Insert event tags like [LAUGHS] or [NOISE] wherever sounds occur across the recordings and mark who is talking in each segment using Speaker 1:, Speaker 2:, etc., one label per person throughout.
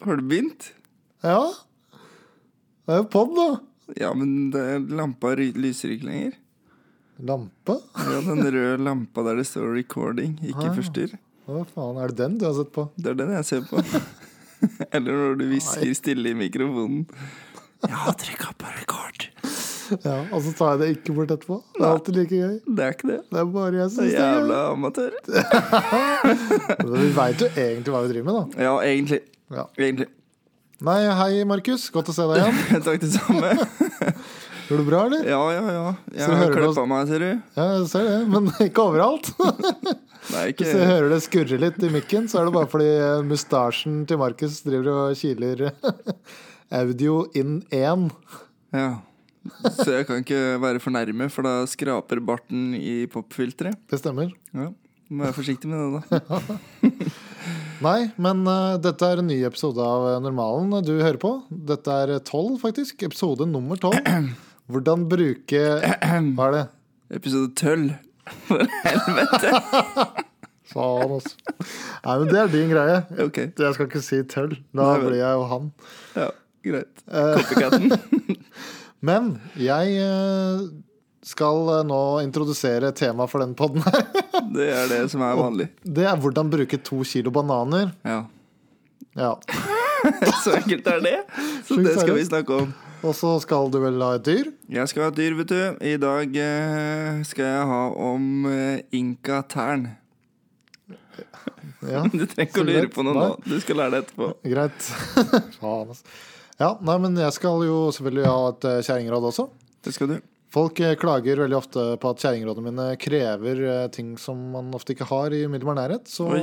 Speaker 1: Har du begynt?
Speaker 2: Ja. Det er jo pod, da.
Speaker 1: Ja, men det, lampa ry- lyser ikke lenger.
Speaker 2: Lampe?
Speaker 1: Ja, den røde lampa der det står 'recording', ikke forstyrr.
Speaker 2: Hva faen, er det den du har sett på?
Speaker 1: Det er den jeg ser på. [LAUGHS] Eller når du hvisker stille i mikrofonen. Jeg har trykka på record.
Speaker 2: Ja, Og så tar jeg det ikke bort etterpå. Det er alltid like gøy.
Speaker 1: Det er ikke det.
Speaker 2: Det er bare jeg som
Speaker 1: Det er
Speaker 2: syns det er gøy.
Speaker 1: Jævla amatør.
Speaker 2: Men Vi veit jo egentlig hva vi driver med, da.
Speaker 1: Ja, egentlig.
Speaker 2: Ja.
Speaker 1: Egentlig. [LAUGHS]
Speaker 2: Nei, hei, Markus. Godt å se deg igjen.
Speaker 1: Takk, det samme.
Speaker 2: Går det bra, eller?
Speaker 1: Ja, ja, ja. Jeg
Speaker 2: Så
Speaker 1: har
Speaker 2: hører du oss-
Speaker 1: klippa meg, ser du.
Speaker 2: Ja, jeg ser det, men [LAUGHS] ikke overalt.
Speaker 1: Det er
Speaker 2: Hvis jeg
Speaker 1: ikke
Speaker 2: hører det skurre litt i mikken, så er det bare fordi eh, mustasjen til Markus driver og kiler [LAUGHS] audio inn én.
Speaker 1: Ja. Så jeg kan ikke være for nærme, for da skraper barten i popfilteret.
Speaker 2: Det stemmer.
Speaker 1: Ja. Må være forsiktig med det, da.
Speaker 2: Nei, men eh, dette er en ny episode av eh, Normalen du hører på. Dette er eh, tolv, faktisk. Episode nummer tolv. Hvordan bruke Hva er det?
Speaker 1: Episode [LAUGHS] tøll.
Speaker 2: Faen, altså. Nei, men det er din greie.
Speaker 1: Ok.
Speaker 2: Jeg skal ikke si tøll. Da
Speaker 1: Nei vel.
Speaker 2: blir jeg jo han. Eh,
Speaker 1: Ja, greit. Copycaten.
Speaker 2: Men jeg eh, skal eh, nå introdusere temaet for den poden her. [LAUGHS]
Speaker 1: Det er det som er vanlig.
Speaker 2: Det er hvordan bruke to kilo bananer.
Speaker 1: Ja. [LAUGHS]
Speaker 2: Ja.
Speaker 1: Så enkelt er det. Så
Speaker 2: Sjukt
Speaker 1: det skal
Speaker 2: seriøst.
Speaker 1: vi snakke om.
Speaker 2: Og så skal du vel ha et dyr?
Speaker 1: Jeg skal ha et dyr, vet du. I dag eh, skal jeg ha om eh, inka-tern.
Speaker 2: Ja.
Speaker 1: [LAUGHS] Du trenger ikke å
Speaker 2: Så
Speaker 1: lure
Speaker 2: greit.
Speaker 1: på noe nå. Du skal lære det etterpå.
Speaker 2: Greit. [LAUGHS] Faen, altså. Ja, nei, men jeg skal jo selvfølgelig ha et eh, kjerringråd også.
Speaker 1: Det skal du.
Speaker 2: Folk eh, klager veldig ofte på at kjerringrådene mine krever eh, ting som man ofte ikke har i umiddelbar nærhet, så
Speaker 1: Oi.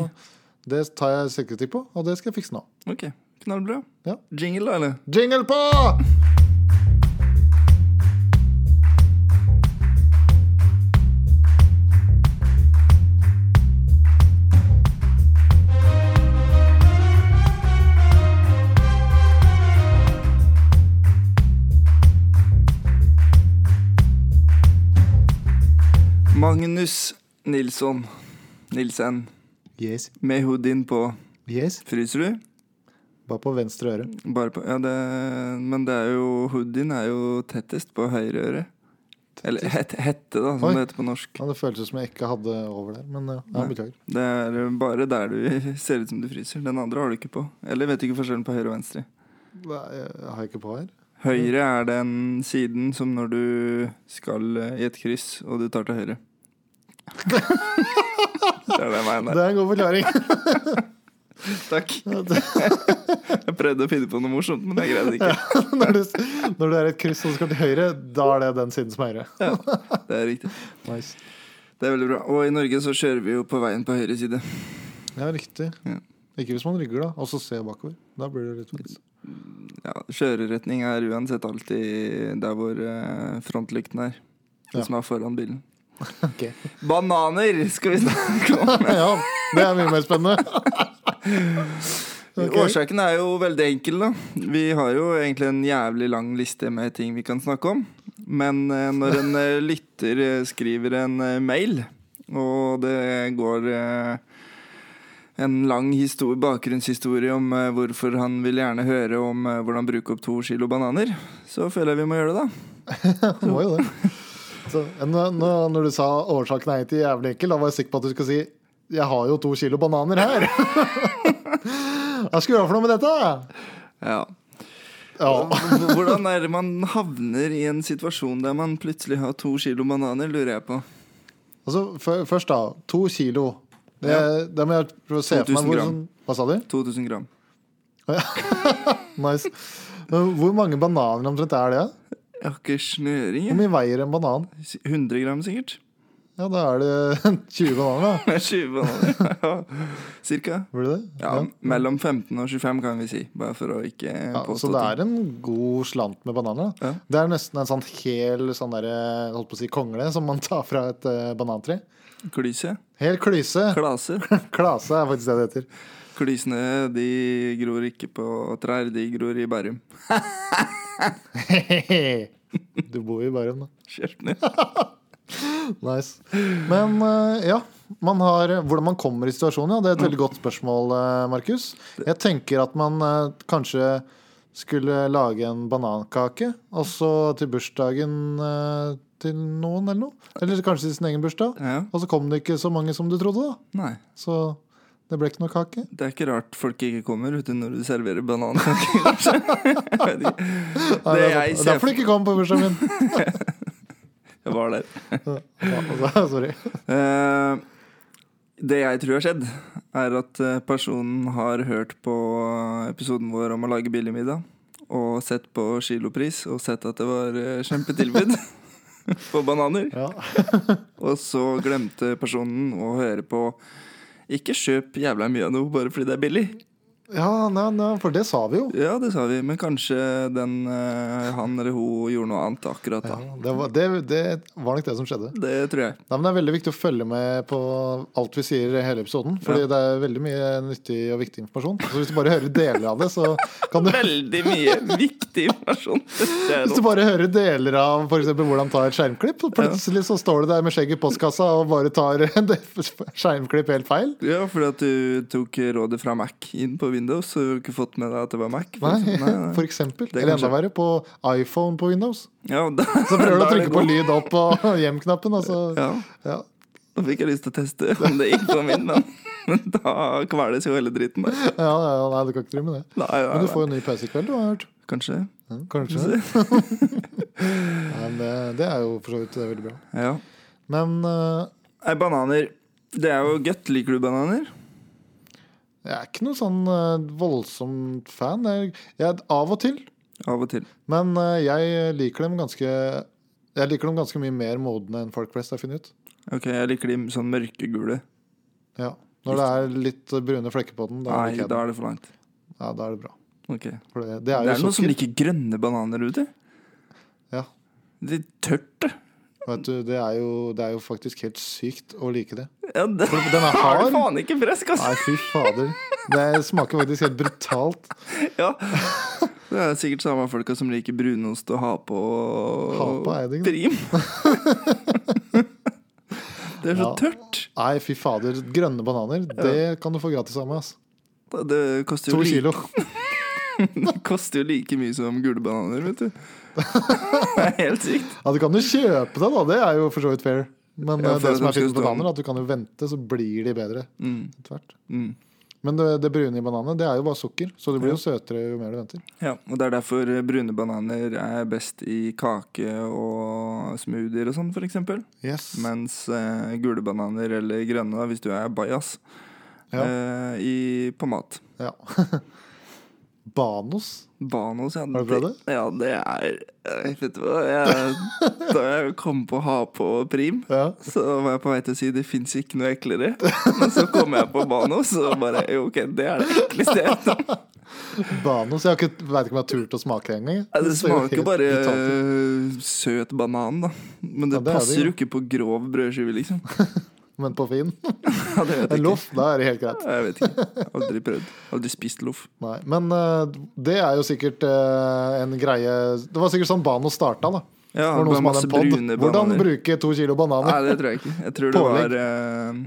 Speaker 2: det tar jeg selvkritikk på, og det skal jeg fikse nå.
Speaker 1: Ok, knallbra.
Speaker 2: Ja.
Speaker 1: Jingle, da, eller?
Speaker 2: Jingle på!
Speaker 1: Magnus Nilsson Nilsen.
Speaker 2: Yes,
Speaker 1: Med hoodien på.
Speaker 2: yes.
Speaker 1: Fryser du?
Speaker 2: Bare på venstre øre.
Speaker 1: Bare på Ja, det Men det er jo Hoodien er jo tettest på høyre øre. Eller het, hette, da, som
Speaker 2: Oi.
Speaker 1: det heter på norsk.
Speaker 2: Ja, det føltes som jeg ikke hadde over der, men eh, ja, beklager.
Speaker 1: Det er bare der du [LAUGHS] ser ut som du fryser. Den andre har du ikke på. Eller vet du ikke forskjellen på høyre og venstre.
Speaker 2: Nei, jeg eh, har ikke på her.
Speaker 1: Høyre er den siden som når du skal eh, i et kryss, og du tar til høyre. det er det jeg
Speaker 2: Det
Speaker 1: mener.
Speaker 2: er en god forklaring. [LAUGHS]
Speaker 1: Takk. Jeg prøvde å finne på noe morsomt, men jeg greide ikke.
Speaker 2: når, du, når du er et kryss og skal til høyre, da er det den siden som er høyre.
Speaker 1: Det er riktig.
Speaker 2: Nice.
Speaker 1: Det er veldig bra. Og i Norge så kjører vi jo på veien på høyre side.
Speaker 2: Ja, riktig.
Speaker 1: Ja.
Speaker 2: Ikke hvis man rygger, da, og så ser bakover. Da blir det litt vits.
Speaker 1: [LAUGHS] Ja, Kjøreretning er uansett alltid der hvor eh, frontlykten er. Det
Speaker 2: Ja.
Speaker 1: som er foran bilen.
Speaker 2: [LAUGHS] Ok.
Speaker 1: Bananer skal vi snakke om!
Speaker 2: ja, det er mye mer spennende. [LAUGHS] Ok.
Speaker 1: Årsaken er jo veldig enkel, da. Vi har jo egentlig en jævlig lang liste med ting vi kan snakke om. Men eh, når en eh,
Speaker 2: [LAUGHS]
Speaker 1: lytter eh, skriver en eh, mail, og det går eh, en lang histo- bakgrunnshistorie om eh, hvorfor han vil gjerne høre om eh, hvordan bruke opp to kilo bananer, så føler jeg vi må gjøre det, da.
Speaker 2: Det var jo det. Så, nå, nå, når du sa årsaken er ikke jævlig enkel, da var jeg sikker på at du skulle si 'jeg har jo to kilo bananer her'. [LAUGHS] Hva skal vi gjøre for noe med dette?
Speaker 1: Ja.
Speaker 2: Ja.
Speaker 1: Hvordan er det man havner i en situasjon der man plutselig har to kilo bananer, lurer jeg på.
Speaker 2: Altså, fø- først, da. To kilo. Det, det må jeg prøve å se
Speaker 1: 2000
Speaker 2: for meg. Hvor,
Speaker 1: gram.
Speaker 2: sånn, hva sa du?
Speaker 1: 2000 gram.
Speaker 2: Nice. Men Hvor mange bananer omtrent er det?
Speaker 1: Jeg har ikke snøring,
Speaker 2: Hvor
Speaker 1: jeg.
Speaker 2: mye veier en banan?
Speaker 1: 100 gram, sikkert. [LAUGHS]
Speaker 2: Ja, da er det [LAUGHS] 20 bananer, da.
Speaker 1: Det er 20 bananer. Ja, Cirka.
Speaker 2: Blir det det?
Speaker 1: Ja, mellom 15 og 25 kan vi si, bare for å ikke
Speaker 2: Ja, så
Speaker 1: påstå
Speaker 2: det
Speaker 1: ting.
Speaker 2: er en god slant med bananer. da.
Speaker 1: Ja.
Speaker 2: Det er nesten en sånn hel sånn der, jeg holdt på å si, kongle som man tar fra et eh, banantre.
Speaker 1: Klyse.
Speaker 2: Hel klyse.
Speaker 1: Klase.
Speaker 2: [LAUGHS] Klase er faktisk det det heter.
Speaker 1: Klysene de gror ikke på trær, de gror i Bærum.
Speaker 2: [LAUGHS] Du bor jo i Bærum, da. [LAUGHS]
Speaker 1: Kjørt ned.
Speaker 2: Nice. Men eh, ja, man har, hvordan man kommer i situasjonen, ja. Det er et veldig godt spørsmål, eh, Markus. Jeg tenker at man eh, kanskje skulle lage en banankake, og så til bursdagen eh, til noen, eller noe. Eller kanskje til sin egen bursdag.
Speaker 1: Ja.
Speaker 2: Og så kom det ikke så mange som du trodde, da.
Speaker 1: Nei.
Speaker 2: Så det ble ikke noe kake.
Speaker 1: Det er ikke rart folk ikke kommer ute når du serverer [LAUGHS] banankaker, kanskje. Jeg vet ikke.
Speaker 2: Nei,
Speaker 1: Det
Speaker 2: er sant.
Speaker 1: jeg
Speaker 2: Det er
Speaker 1: ser
Speaker 2: derfor du ikke kom på bursdagen min.
Speaker 1: [LAUGHS] Jeg var der.
Speaker 2: Ja, altså, sorry.
Speaker 1: Eh, det jeg tror har skjedd, er at eh, personen har hørt på episoden vår om å lage billig middag, og sett på kilopris, og sett at det var eh, kjempetilbud [LAUGHS] på bananer.
Speaker 2: Ja.
Speaker 1: Og så glemte personen å høre på ikke kjøp jævla mye av noe bare fordi det er billig.
Speaker 2: Ja, nei, nei, for det sa vi jo.
Speaker 1: Ja, det sa vi, men kanskje den eh, han eller hun gjorde noe annet akkurat da.
Speaker 2: Ja, det, var, det, det var nok det som skjedde.
Speaker 1: Det tror jeg.
Speaker 2: Nei, men Det er veldig viktig å følge med på alt vi sier i hele episoden. Fordi det er veldig mye nyttig og viktig informasjon. Så hvis du bare hører deler av det, så
Speaker 1: [LAUGHS]
Speaker 2: kan du
Speaker 1: Veldig mye viktig informasjon. Det
Speaker 2: [LAUGHS]
Speaker 1: er
Speaker 2: hvis du
Speaker 1: noe.
Speaker 2: bare hører deler av for eksempel, hvordan ta et skjermklipp, så plutselig så står du der med skjegg i postkassa og bare tar [LAUGHS] det skjermklipp helt feil.
Speaker 1: Ja, fordi at du tok rådet fra Mac inn på Windows, så du har ikke fått med deg at det var Mac. for
Speaker 2: Nei,
Speaker 1: eksempel. Nei, nei.
Speaker 2: for eksempel.
Speaker 1: Det kan
Speaker 2: Eller enda verre, på iPhone på Windows.
Speaker 1: Ja, og da,
Speaker 2: [LAUGHS]
Speaker 1: [LAUGHS]
Speaker 2: Så prøver
Speaker 1: da
Speaker 2: du å
Speaker 1: er det
Speaker 2: trykke på
Speaker 1: god.
Speaker 2: lyd opp og hjem-knappen, og så
Speaker 1: [LAUGHS] Ja,
Speaker 2: ja.
Speaker 1: da fikk jeg lyst til å teste om det gikk på min, men, [LAUGHS] men da kveles jo hele dritten der.
Speaker 2: Ja, ja, ja, nei, du kan ikke drive med det.
Speaker 1: Nei, nei,
Speaker 2: Men du
Speaker 1: nei.
Speaker 2: får jo ny pause i kveld, du har jeg hørt.
Speaker 1: Kanskje.
Speaker 2: Ja, Kanskje.
Speaker 1: [LAUGHS]
Speaker 2: Nei, men det, det er jo for så vidt eh, veldig bra.
Speaker 1: Ja.
Speaker 2: Men eh,
Speaker 1: Nei, bananer. Det er jo godt. Liker du bananer?
Speaker 2: jeg er ikke noen sånn eh, voldsomt fan. Jeg, jeg er Av og til.
Speaker 1: Av og til.
Speaker 2: Men eh, jeg liker dem ganske Jeg liker dem ganske mye mer modne enn folk flest har funnet ut.
Speaker 1: Ok, jeg liker de sånn mørkegule.
Speaker 2: Ja. Når det er litt brune flekker på den, da,
Speaker 1: Nei,
Speaker 2: liker jeg
Speaker 1: da
Speaker 2: den.
Speaker 1: er det for langt.
Speaker 2: Ja, da er det bra.
Speaker 1: Ok. Det
Speaker 2: For det, det er
Speaker 1: er
Speaker 2: jo
Speaker 1: noen som
Speaker 2: sukker.
Speaker 1: liker grønne bananer ute.
Speaker 2: Ja.
Speaker 1: Det er tørt, det.
Speaker 2: Vet du, det, er jo, det er jo faktisk helt sykt å like det.
Speaker 1: Ja, det
Speaker 2: For den er
Speaker 1: [LAUGHS] har du
Speaker 2: hard.
Speaker 1: faen ikke frisk, ass.
Speaker 2: Nei, fy fader. Det smaker faktisk helt brutalt. [LAUGHS]
Speaker 1: Ja. Det er sikkert samme folka som liker brunost og ha på
Speaker 2: Ha på er det ikke
Speaker 1: prim.
Speaker 2: [LAUGHS]
Speaker 1: Det er så
Speaker 2: Ja.
Speaker 1: tørt.
Speaker 2: Nei, fy fader. Grønne bananer, det kan du få gratis av meg. ass.
Speaker 1: Det koster,
Speaker 2: To
Speaker 1: jo
Speaker 2: kilo.
Speaker 1: like, det [LAUGHS] koster jo like mye som gule bananer,
Speaker 2: [LAUGHS]
Speaker 1: vet du. Det er helt sykt.
Speaker 2: Ja, Du kan jo kjøpe det, da. Det er jo for så vidt fair. Men
Speaker 1: Ja,
Speaker 2: eh,
Speaker 1: for
Speaker 2: det
Speaker 1: at
Speaker 2: som
Speaker 1: de
Speaker 2: er fint
Speaker 1: skal
Speaker 2: med
Speaker 1: stå
Speaker 2: bananer, er at du kan jo vente, så blir de bedre. etter hvert.
Speaker 1: Mm.
Speaker 2: Men det, det brune i bananene, det er jo bare sukker. Så det blir jo søtere jo mer du venter.
Speaker 1: Ja, og det er derfor brune bananer er best i kake og smoothier og sånn, for eksempel.
Speaker 2: Yes.
Speaker 1: Mens eh, gule bananer eller grønne, da, hvis du er bajas,
Speaker 2: Ja.
Speaker 1: eh, i, på mat.
Speaker 2: Ja. [LAUGHS] Banos.
Speaker 1: Banos, ja.
Speaker 2: Har du prøvd
Speaker 1: det? Ja, det er jeg Vet du hva? Jeg, da jeg kom på å ha på prim,
Speaker 2: Ja.
Speaker 1: så var jeg på vei til å si det fins ikke noe eklere. Men så kom jeg på Banos, og bare jo, ok, det er det ekleste jeg vet om.
Speaker 2: Banos. Jeg veit ikke om jeg har turt å smake det engang.
Speaker 1: Ja, Det
Speaker 2: ser jo
Speaker 1: smaker
Speaker 2: helt
Speaker 1: jo bare
Speaker 2: brutalt ut.
Speaker 1: eh, søt banan, da. Men det,
Speaker 2: Ja, det er det
Speaker 1: passer jo
Speaker 2: jo.
Speaker 1: ikke på grov brødskive, liksom.
Speaker 2: Men på Finn.
Speaker 1: Ja, det vet
Speaker 2: En
Speaker 1: jeg ikke.
Speaker 2: [LAUGHS] loff, da er det helt greit.
Speaker 1: Jeg vet ikke. Aldri prøvd. Aldri spist loff.
Speaker 2: Nei, Men eh, det er jo sikkert eh, en greie Det var sikkert sånn Bano starta, da.
Speaker 1: Ja,
Speaker 2: Det var noen
Speaker 1: bare
Speaker 2: som hadde
Speaker 1: masse
Speaker 2: en pod.
Speaker 1: brune
Speaker 2: Hvordan
Speaker 1: bananer.
Speaker 2: bruke to kilo bananer?
Speaker 1: Nei, det tror jeg ikke. Jeg tror det var eh,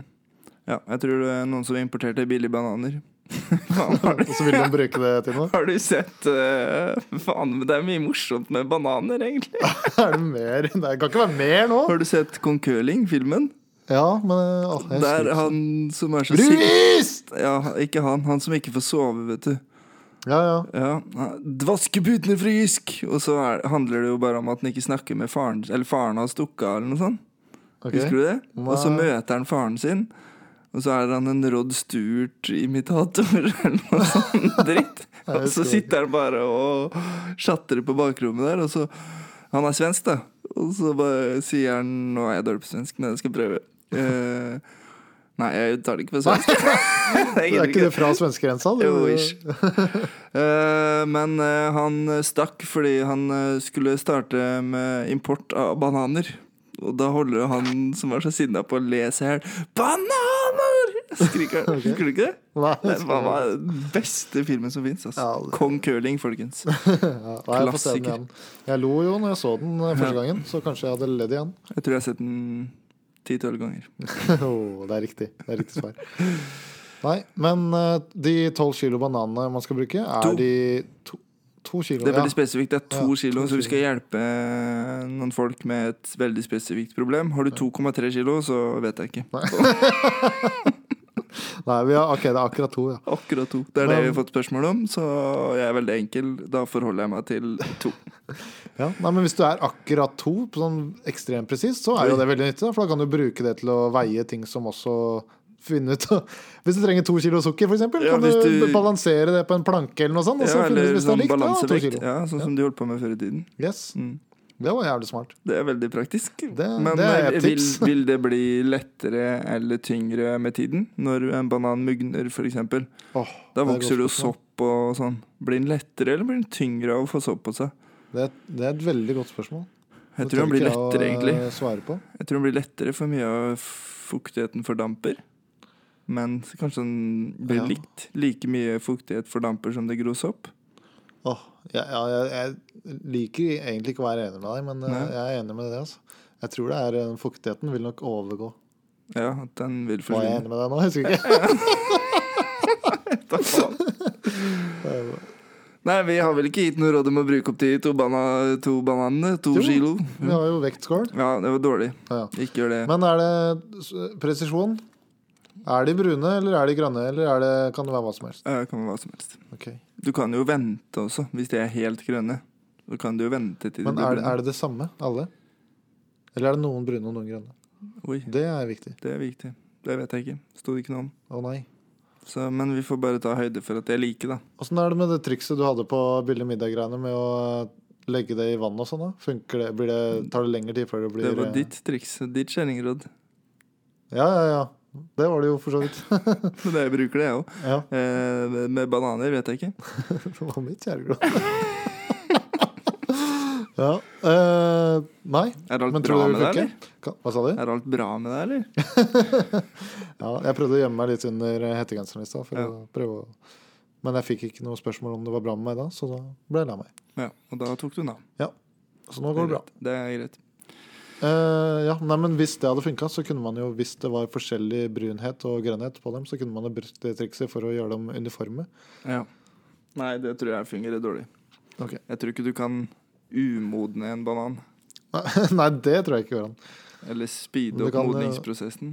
Speaker 1: Ja, jeg tror det er noen som importerte billige bananer. [LAUGHS] Faen, har,
Speaker 2: Og så vil de bruke det til
Speaker 1: [LAUGHS]
Speaker 2: noe?
Speaker 1: har du sett eh, Faen, men det er mye morsomt med bananer, egentlig.
Speaker 2: Er det mer? Nei, det kan ikke være mer nå!
Speaker 1: Har du sett Kong Curling, filmen?
Speaker 2: Ja, men eh, åh, jeg
Speaker 1: Der
Speaker 2: husker ikke.
Speaker 1: han som er så sint
Speaker 2: Brus!
Speaker 1: Ja, ikke han. Han som ikke får sove, vet du.
Speaker 2: Ja, ja.
Speaker 1: Ja, Vaskeputene frysk! Og så er, handler det jo bare om at han ikke snakker med faren Eller faren har stukket av, eller noe sånt.
Speaker 2: ok.
Speaker 1: Husker du det? Og så
Speaker 2: Nei.
Speaker 1: møter han faren sin, og så er han en Rod Stewart-imitator [LAUGHS] eller noe sånn dritt.
Speaker 2: Nei,
Speaker 1: Og
Speaker 2: jeg
Speaker 1: så
Speaker 2: husker
Speaker 1: sitter han bare og tjatter på bakrommet der, og så Han er svensk, da. Og så bare sier han Nå er jeg dårlig på svensk, men jeg skal prøve. Eh, nei, jeg tar det ikke på
Speaker 2: [LAUGHS]
Speaker 1: svensk. Jeg
Speaker 2: Det
Speaker 1: gidder
Speaker 2: er ikke det fra svenskegrensa? du-
Speaker 1: Jo,
Speaker 2: [LAUGHS]
Speaker 1: ish. Eh, men eh, han stakk fordi han eh, skulle starte med import av bananer. Og da holder jo han som var så sinna på å le seg i hjel. Bananer!
Speaker 2: [LAUGHS]
Speaker 1: Skriker han. Husker du ikke det?
Speaker 2: Nei,
Speaker 1: Det var var den beste filmen som fins. Altså.
Speaker 2: Ja, det-
Speaker 1: Kong curling, folkens.
Speaker 2: ja, nei, jeg får se den
Speaker 1: klassiker.
Speaker 2: igjen. Jeg lo jo når jeg så den eh, første gangen, så kanskje jeg hadde ledd igjen.
Speaker 1: Jeg tror jeg har sett den ti-tolv ganger.
Speaker 2: [LAUGHS] Åh, det er riktig. Det er riktig svar. Nei, men eh, de tolv kilo bananene man skal bruke, er
Speaker 1: To.
Speaker 2: de to, to kilo?
Speaker 1: Det er
Speaker 2: ja.
Speaker 1: veldig spesifikt. Det er to
Speaker 2: Ja,
Speaker 1: kilo,
Speaker 2: to
Speaker 1: så vi skal hjelpe eh, noen folk med et veldig spesifikt problem. Har du 2,3 kilo, så vet jeg ikke.
Speaker 2: Nei, vi har, ok, det er akkurat to, ja.
Speaker 1: Akkurat to. Det er det vi
Speaker 2: Men-
Speaker 1: har fått spørsmål om, så jeg er veldig enkel. Da forholder jeg meg til to.
Speaker 2: ja. Nei, men hvis du er akkurat to, på sånn ekstremt presist, så er jo det veldig nyttig. da, For da kan du bruke det til å veie ting som også finne ut Hvis du trenger to kilo sukker, f.eks., eksempel
Speaker 1: Ja,
Speaker 2: kan du,
Speaker 1: hvis du-
Speaker 2: balansere det på en planke eller noe sånt. [LAUGHS] Og så
Speaker 1: Ja,
Speaker 2: finne
Speaker 1: eller
Speaker 2: ut hvis det
Speaker 1: sånn
Speaker 2: er likt. Ja, to
Speaker 1: balansevekt.
Speaker 2: kilo.
Speaker 1: Ja, sånn som de holdt på med før i tiden.
Speaker 2: Yes.
Speaker 1: Mm.
Speaker 2: Det var jævlig smart.
Speaker 1: Det er veldig praktisk.
Speaker 2: Det-
Speaker 1: Men
Speaker 2: det
Speaker 1: eh,
Speaker 2: er et
Speaker 1: vil,
Speaker 2: tips. [LAUGHS]
Speaker 1: vil det bli lettere eller tyngre med tiden? Når en banan mugner, f.eks.
Speaker 2: Åh,
Speaker 1: Da
Speaker 2: det er et
Speaker 1: vokser det
Speaker 2: godt
Speaker 1: jo
Speaker 2: spørsmål.
Speaker 1: sopp og sånn. Blir den lettere, eller blir den tyngre av å få sopp på seg?
Speaker 2: Det er, det er et veldig godt spørsmål.
Speaker 1: Jeg
Speaker 2: Det
Speaker 1: tror den blir
Speaker 2: trenger ikke
Speaker 1: lettere,
Speaker 2: jeg å,
Speaker 1: egentlig.
Speaker 2: eh, Svare på.
Speaker 1: Jeg tror den blir lettere, for mye av fuktigheten fordamper. Men så kanskje den blir
Speaker 2: Ja.
Speaker 1: likt. Like mye fuktighet fordamper som det gror sopp.
Speaker 2: Åh, ja, ja, jeg, jeg liker egentlig ikke å være enig med deg, men eh,
Speaker 1: Nei.
Speaker 2: jeg er enig med det. Altså. Jeg tror det er eh, fuktigheten vil nok overgå.
Speaker 1: Ja, at den vil
Speaker 2: Var jeg
Speaker 1: forsvinne.
Speaker 2: enig med deg nå? Jeg husker ikke. [LAUGHS]
Speaker 1: Da faen. Nei, vi har vel ikke gitt noe råd om å bruke opp de to, bana to bananene. To
Speaker 2: Jo.
Speaker 1: kilo.
Speaker 2: Vi har jo vektskål.
Speaker 1: Ja, det var dårlig.
Speaker 2: Ja, ja.
Speaker 1: Ikke gjør det.
Speaker 2: Men er det s- presisjon? Er de brune, eller er de grønne, eller er det, kan det være hva som helst?
Speaker 1: Ja, det kan være hva som helst.
Speaker 2: Ok.
Speaker 1: Du kan jo vente også, hvis de er helt grønne. Så kan du jo vente til de
Speaker 2: Men
Speaker 1: blir
Speaker 2: er, det-
Speaker 1: brune.
Speaker 2: er det det samme, alle? Eller er det noen brune og noen grønne?
Speaker 1: Oi,
Speaker 2: Det er viktig.
Speaker 1: det er viktig. Det vet jeg ikke. Sto det ikke noe om.
Speaker 2: Å nei.
Speaker 1: Så, men vi får bare ta høyde for at de er like, da.
Speaker 2: Åssen er det med det trikset du hadde på billig middag-greiene med å eh, legge det i vann og sånn? da? Funker det, blir det, tar det lengre tid før det blir
Speaker 1: Det var
Speaker 2: eh,
Speaker 1: ditt triks. Ditt kjerringråd. [LAUGHS]
Speaker 2: Ja, ja, ja. Det var det jo for så [LAUGHS] vidt.
Speaker 1: Men jeg bruker det, jeg òg.
Speaker 2: Ja,
Speaker 1: Eh, med- med bananer vet jeg ikke.
Speaker 2: [LAUGHS] det var mitt kjæregråd. [LAUGHS] ja. eh, nei,
Speaker 1: Er alt
Speaker 2: men
Speaker 1: bra
Speaker 2: tror du
Speaker 1: med
Speaker 2: det
Speaker 1: deg,
Speaker 2: vil
Speaker 1: eller?
Speaker 2: funke? Ka- Hva sa du?
Speaker 1: Er alt bra med deg, eller?
Speaker 2: [LAUGHS] Ja, jeg prøvde å gjemme meg litt under hettegenseren i stad. for
Speaker 1: Ja.
Speaker 2: å prøve å- Men jeg fikk ikke noe spørsmål om det var bra med meg da, så da ble jeg lei meg.
Speaker 1: Ja, og da tok du den av.
Speaker 2: Så nå går det bra.
Speaker 1: Det er greit.
Speaker 2: Eh, ja, nei, men Hvis det hadde funka, så kunne man jo Hvis det var forskjellig brunhet og grønnhet på dem, så kunne man jo brukt det trikset for å gjøre dem uniforme.
Speaker 1: Ja. Nei, det tror jeg fungerer dårlig.
Speaker 2: Ok.
Speaker 1: Jeg tror ikke du kan umodne en banan.
Speaker 2: [LAUGHS] Nei, det tror jeg ikke går an.
Speaker 1: Eller speede
Speaker 2: Men
Speaker 1: opp
Speaker 2: det kan, eh,
Speaker 1: modningsprosessen.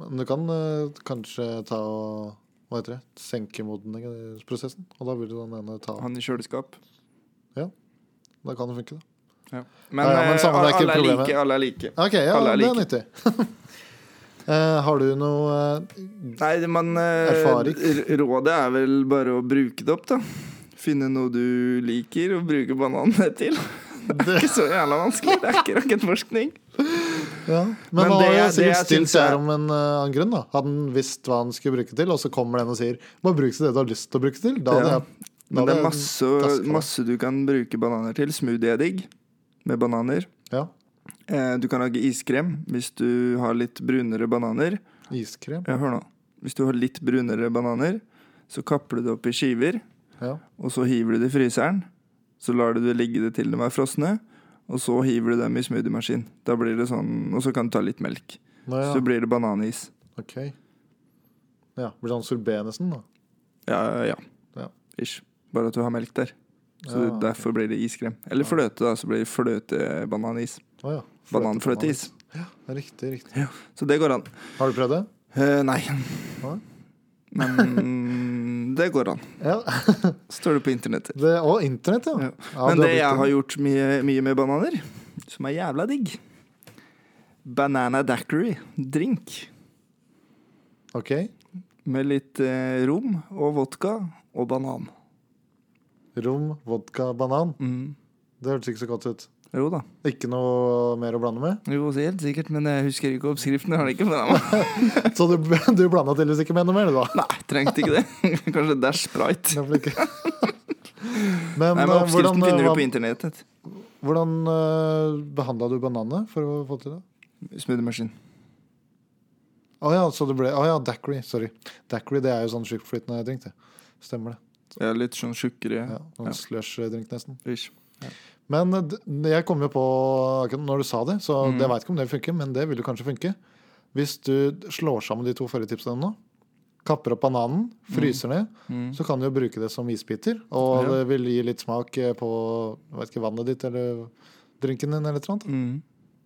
Speaker 2: Men du kan eh, kanskje ta og hva heter det, senke modningsprosessen. Og da vil den ene ta
Speaker 1: Han i kjøleskap.
Speaker 2: Da kan det funke, da.
Speaker 1: Men,
Speaker 2: Ja, ja, men
Speaker 1: eh,
Speaker 2: samme, det er ikke
Speaker 1: alle, er
Speaker 2: problemet.
Speaker 1: like, alle er like.
Speaker 2: OK, ja,
Speaker 1: Alle er
Speaker 2: det er nyttig. [LAUGHS] Eh, har du noe eh,
Speaker 1: Nei, men eh,
Speaker 2: Erfaring.
Speaker 1: r- rådet er vel bare å bruke det opp, da. Finne noe du liker, og bruke bananene til. Det er ikke så jævla vanskelig. Det er ikke rakettforskning.
Speaker 2: ja.
Speaker 1: [LAUGHS]
Speaker 2: Men,
Speaker 1: Men
Speaker 2: han
Speaker 1: det
Speaker 2: har jo
Speaker 1: jeg- det
Speaker 2: sikkert
Speaker 1: jeg
Speaker 2: stilt
Speaker 1: synes
Speaker 2: seg
Speaker 1: er-
Speaker 2: om en eh, annen grunn. da Hadde han visst hva han skulle bruke til, og så kommer den og sier Bare bruk til det du har lyst til å bruke til. Da hadde
Speaker 1: Ja.
Speaker 2: jeg
Speaker 1: Men
Speaker 2: da
Speaker 1: det
Speaker 2: hadde
Speaker 1: er
Speaker 2: jeg-
Speaker 1: masse,
Speaker 2: tasker det.
Speaker 1: masse du kan bruke bananer til. Smoothie er digg med bananer.
Speaker 2: ja,
Speaker 1: Eh, Du kan lage iskrem hvis du har litt brunere bananer.
Speaker 2: Iskrem.
Speaker 1: Ja, hør nå. Hvis du har litt brunere bananer, så kapper du det opp i skiver.
Speaker 2: Ja.
Speaker 1: Og så hiver du det i fryseren. Så lar du det ligge det til de er frosne. Og så hiver du dem i smoothiemaskin. Da blir det sånn, Og så kan du ta litt melk.
Speaker 2: Nå, ja.
Speaker 1: Så blir det bananis.
Speaker 2: OK. Ja, Blir det sånn sorbet nesten, da?
Speaker 1: Ja, ja.
Speaker 2: Ja.
Speaker 1: Ish. Bare at du har melk der. Så
Speaker 2: Ja, ok.
Speaker 1: derfor blir det iskrem. Eller
Speaker 2: Ja.
Speaker 1: fløte, da. Så blir det fløtebananis.
Speaker 2: Å ja. Fløtebananis.
Speaker 1: Bananfløteis.
Speaker 2: Riktig, riktig.
Speaker 1: Så det går an.
Speaker 2: Har du prøvd det?
Speaker 1: Eh, nei.
Speaker 2: Hva?
Speaker 1: Men [LAUGHS] det går an.
Speaker 2: Ja.
Speaker 1: Står det på internettet.
Speaker 2: Det, og internett, ja.
Speaker 1: Ja.
Speaker 2: Ja,
Speaker 1: Men
Speaker 2: du
Speaker 1: det jeg har
Speaker 2: brukt
Speaker 1: gjort mye, mye med bananer, som er jævla digg Banana daiquiri drink
Speaker 2: det. Ok.
Speaker 1: med litt eh, rom og vodka og banan.
Speaker 2: Rom, vodka, banan.
Speaker 1: Mm.
Speaker 2: Det hørtes ikke så godt ut.
Speaker 1: Jo da.
Speaker 2: Ikke noe mer å blande med.
Speaker 1: Jo, så helt sikkert, men jeg husker ikke oppskriften. Jeg har det ikke foran meg.
Speaker 2: Så du, [LAUGHS] du blanda tydeligvis ikke med noe mer, du, da.
Speaker 1: Nei, trengte ikke det. [LAUGHS] Kanskje det er sprite.
Speaker 2: Det ble ikke. [LAUGHS]
Speaker 1: Nei,
Speaker 2: Men,
Speaker 1: men
Speaker 2: eh,
Speaker 1: Oppskriften
Speaker 2: eh,
Speaker 1: finner du
Speaker 2: hva-
Speaker 1: på internettet.
Speaker 2: Hvordan behandla du bananene for å få til det?
Speaker 1: Smoothiemaskin.
Speaker 2: Å ja, så det ble Å ja, daiquiri. Sorry. Daiquiri det er jo sånn sjukflytende drink, det. Stemmer det.
Speaker 1: Ja, litt sånn tjukkere.
Speaker 2: Ja, Sånn slush-drink, nesten.
Speaker 1: Ish.
Speaker 2: Men d- jeg kom jo på akkurat når du sa det, så
Speaker 1: Mm.
Speaker 2: jeg veit ikke om det funker, men det vil jo kanskje funke. Hvis du slår sammen de to forrige tipsene nå, kapper opp bananen, fryser ned, så kan du jo bruke det som isbiter. Og
Speaker 1: Mm. Ja.
Speaker 2: det vil gi litt smak eh, på jeg vet ikke, vannet ditt eller drinken din eller et eller annet.
Speaker 1: Mm.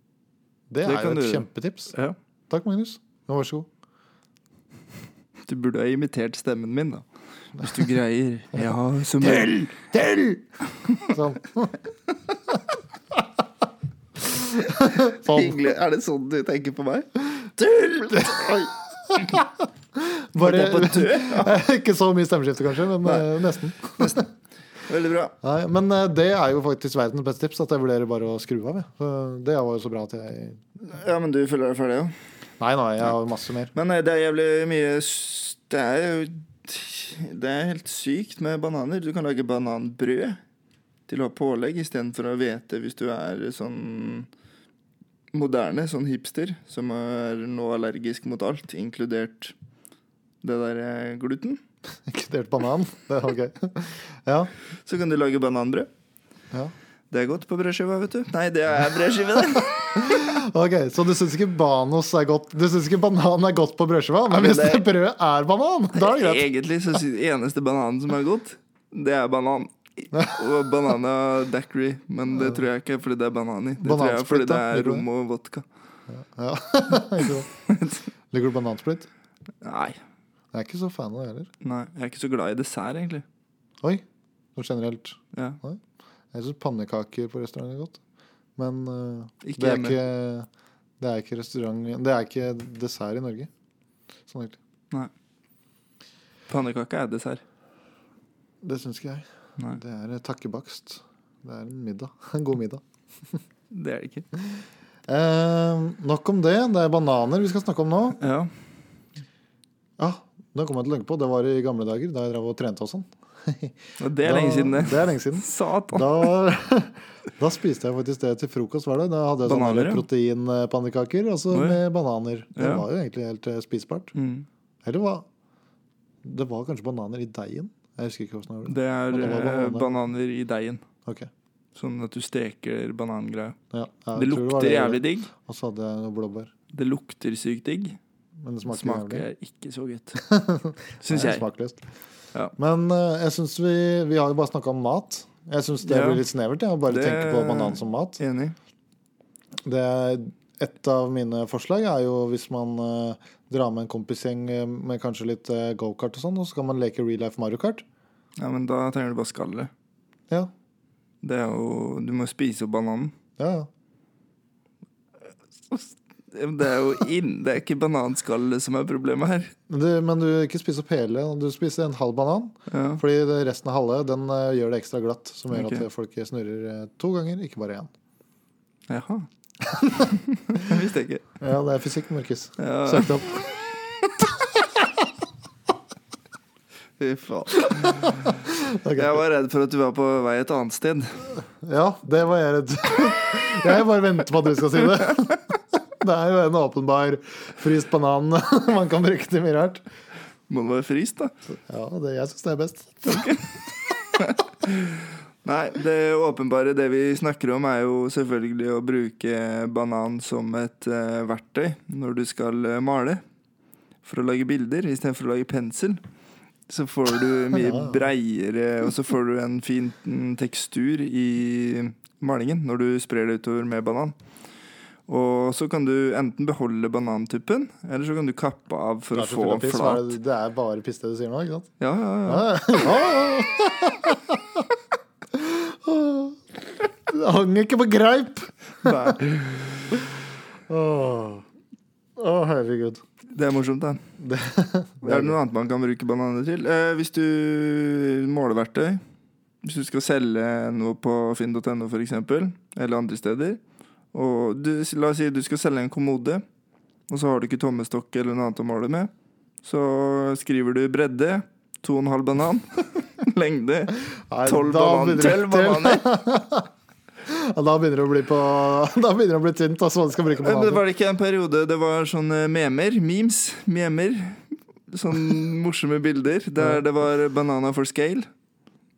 Speaker 2: Det,
Speaker 1: Det
Speaker 2: er
Speaker 1: kan
Speaker 2: jo et
Speaker 1: du gjøre.
Speaker 2: kjempetips.
Speaker 1: Ja.
Speaker 2: Takk, Magnus. Ja, Vær så god.
Speaker 1: Du burde ha imitert stemmen min, da. Hvis du greier. [LAUGHS] Ja, som Tell! [LAUGHS]
Speaker 2: Sånn. sånn.
Speaker 1: Hyggelig. Er det sånn du tenker på meg? Tell! Oi, var
Speaker 2: Bare [LAUGHS]
Speaker 1: det på død?
Speaker 2: Ikke så mye stemmeskifte, kanskje, men eh, nesten.
Speaker 1: Veldig bra.
Speaker 2: Nei, men eh, det er jo faktisk verdens beste tips, at jeg vurderer bare å skru av. Jeg. Så Det var jo så bra at jeg
Speaker 1: Ja, men du føler deg ferdig, jo.
Speaker 2: Nei, nei, jeg har masse mer. [LAUGHS]
Speaker 1: Men eh, det er jævlig mye s- Det er jo Det er helt sykt med bananer. Du kan lage bananbrød til å ha pålegg istedenfor å hvete hvis du er sånn moderne, sånn hipster, som er nå allergisk mot alt, inkludert det der eh, gluten.
Speaker 2: Inkludert banan. Det var gøy. [LAUGHS] Ja.
Speaker 1: Så kan du lage bananbrød.
Speaker 2: ja.
Speaker 1: Det er godt på brødskiva, vet du. Nei, det er brødskive, det.
Speaker 2: Ok, Så du syns ikke banos er godt Du syns ikke banan er godt på brødskiva? Men hvis det brødet er banan, da er det greit.
Speaker 1: Egentlig så sy- eneste bananen som er godt, det er banan. Og banana daiquiri, men det tror jeg ikke er fordi det er banan i. Det tror jeg er fordi det
Speaker 2: Banansplitt, da,
Speaker 1: er
Speaker 2: gjør du
Speaker 1: rom og vodka.
Speaker 2: Ja. Ikke sant? [LAUGHS] Liker du banansplitt?
Speaker 1: Nei.
Speaker 2: Jeg er ikke så fan av det heller.
Speaker 1: Nei, jeg er ikke så glad i dessert, egentlig.
Speaker 2: Oi, sånn generelt.
Speaker 1: Ja.
Speaker 2: Jeg syns pannekaker på restaurant er godt. Men eh,
Speaker 1: Ikke
Speaker 2: det, er
Speaker 1: hjemme.
Speaker 2: ikke, det er ikke restaurant Det er ikke dessert i Norge. Sånn egentlig.
Speaker 1: Pannekake er dessert.
Speaker 2: Det syns ikke jeg.
Speaker 1: Nei.
Speaker 2: Det er eh, takkebakst. Det er en middag. [LAUGHS] En god middag.
Speaker 1: Det er det ikke.
Speaker 2: Eh, nok om det. Det er bananer vi skal snakke om nå.
Speaker 1: Ja.
Speaker 2: Ja, det kom jeg til å tenke på. Det var i gamle dager, da jeg drev og trente og sånn.
Speaker 1: Og det er lenge siden, det.
Speaker 2: Da, det er lenge siden.
Speaker 1: Satan.
Speaker 2: Da, [LAUGHS] da spiste jeg faktisk det til frokost. var det Da hadde jeg
Speaker 1: Bananer,
Speaker 2: sånne
Speaker 1: ja.
Speaker 2: proteinpannekaker og så
Speaker 1: Oi.
Speaker 2: med bananer. Det
Speaker 1: Ja.
Speaker 2: var jo egentlig helt eh, spisbart.
Speaker 1: Mm.
Speaker 2: Eller hva? Det var kanskje bananer i deigen? Jeg husker ikke hvordan det var.
Speaker 1: Det er
Speaker 2: Det var
Speaker 1: eh,
Speaker 2: bananer.
Speaker 1: bananer i deigen.
Speaker 2: Ok.
Speaker 1: Sånn at du steker banangreia.
Speaker 2: Ja, jeg
Speaker 1: Det
Speaker 2: tror var
Speaker 1: lukter
Speaker 2: det.
Speaker 1: jævlig digg.
Speaker 2: Og så hadde jeg noe blåbær.
Speaker 1: Det lukter sykt digg.
Speaker 2: Men det smaker, jævlig.
Speaker 1: Smaker ikke så godt.
Speaker 2: [LAUGHS]
Speaker 1: Syns
Speaker 2: Nei,
Speaker 1: jeg.
Speaker 2: Smakløst.
Speaker 1: Ja.
Speaker 2: Men eh, jeg syns vi Vi har jo bare snakka om mat. Jeg syns det
Speaker 1: Ja.
Speaker 2: blir litt snevert, jeg, å bare
Speaker 1: Det-
Speaker 2: tenke på banan som mat.
Speaker 1: Enig.
Speaker 2: Det er et av mine forslag er jo hvis man eh, drar med en kompisgjeng eh, med kanskje litt eh, gokart og sånn, og så kan man leke real life Mario Kart.
Speaker 1: Ja, men da trenger du bare skallet.
Speaker 2: Ja,
Speaker 1: Det er jo Du må spise opp bananen.
Speaker 2: ja, ja.
Speaker 1: Det er jo inn, det er ikke bananskallet som er problemet her.
Speaker 2: Men Du, men du ikke spiser opp hele, du spiser en halv banan.
Speaker 1: Ja.
Speaker 2: Fordi det- resten av halve den eh, gjør det ekstra glatt, som gjør
Speaker 1: Ok.
Speaker 2: at folk snurrer eh, to ganger, ikke bare én.
Speaker 1: Jaha. [LAUGHS] Det visste jeg ikke.
Speaker 2: Ja, det er fysikk, Markus.
Speaker 1: Ja,
Speaker 2: Søkt opp.
Speaker 1: fy [LAUGHS] faen.
Speaker 2: Ok.
Speaker 1: Jeg var redd for at du var på vei et annet sted.
Speaker 2: Ja, det var jeg redd [LAUGHS] Jeg bare venter på at du skal si det. [LAUGHS] Det er jo en åpenbar fryst banan [LAUGHS] man kan bruke til mye rart.
Speaker 1: Må være fryst, da.
Speaker 2: Ja, det, jeg syns det er best.
Speaker 1: Nei, det åpenbare det vi snakker om, er jo selvfølgelig å bruke banan som et eh, verktøy når du skal eh, male. For å lage bilder istedenfor å lage pensel. Så får du mye
Speaker 2: [LAUGHS] Ja.
Speaker 1: breiere, og så får du en fin mm, tekstur i malingen når du sprer det utover med banan. Og så kan du enten beholde banantuppen, eller så kan du kappe av for å
Speaker 2: Kanskje full
Speaker 1: få
Speaker 2: av piss, hva er
Speaker 1: flat.
Speaker 2: det, det er bare piss det du sier nå, ikke sant? [LAUGHS] Ah.
Speaker 1: Ja, ja, ja.
Speaker 2: Ja. Det hang ikke på greip!
Speaker 1: Nei,
Speaker 2: Å, Å, herregud.
Speaker 1: Det er morsomt, da.
Speaker 2: [LAUGHS] Det,
Speaker 1: Er det noe annet man kan bruke bananer til? Eh, hvis du Måleverktøy. Hvis du skal selge noe på finn.no, f.eks., eller andre steder. Og du, la oss si du skal selge en kommode, og så har du ikke tommestokk eller noe annet å måle med. Så skriver du bredde, 2,5 banan. [LAUGHS] Lengde,
Speaker 2: Nei,
Speaker 1: 12
Speaker 2: da
Speaker 1: banan,
Speaker 2: begynner
Speaker 1: 12
Speaker 2: det-
Speaker 1: bananer.
Speaker 2: [LAUGHS] Ja, da begynner det å bli på Da begynner det å bli tynt, altså, hva du skal bruke
Speaker 1: Eh, Men Det
Speaker 2: bananer til.
Speaker 1: var det ikke en periode det var sånne memer, memes, sånn [LAUGHS] memer. Sånne morsomme bilder der det var banana for scale.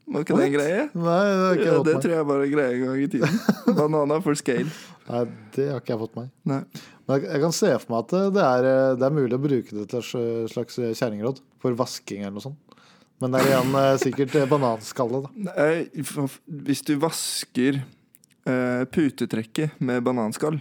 Speaker 1: Var ikke det en greie?
Speaker 2: Nei, det har ikke
Speaker 1: Ja,
Speaker 2: jeg
Speaker 1: det
Speaker 2: fått meg.
Speaker 1: tror jeg bare er en greie en gang i [LAUGHS] tiden. Banana for scale.
Speaker 2: Nei, det har ikke jeg fått meg.
Speaker 1: Nei.
Speaker 2: Men jeg- jeg kan se for meg at det- det er, eh, det er mulig å bruke det til et slags- slags eh, kjerringråd. For vasking eller noe sånt. Men det er igjen eh, sikkert eh, bananskallet, da.
Speaker 1: Nei, f- Hvis du vasker eh, putetrekket med bananskall,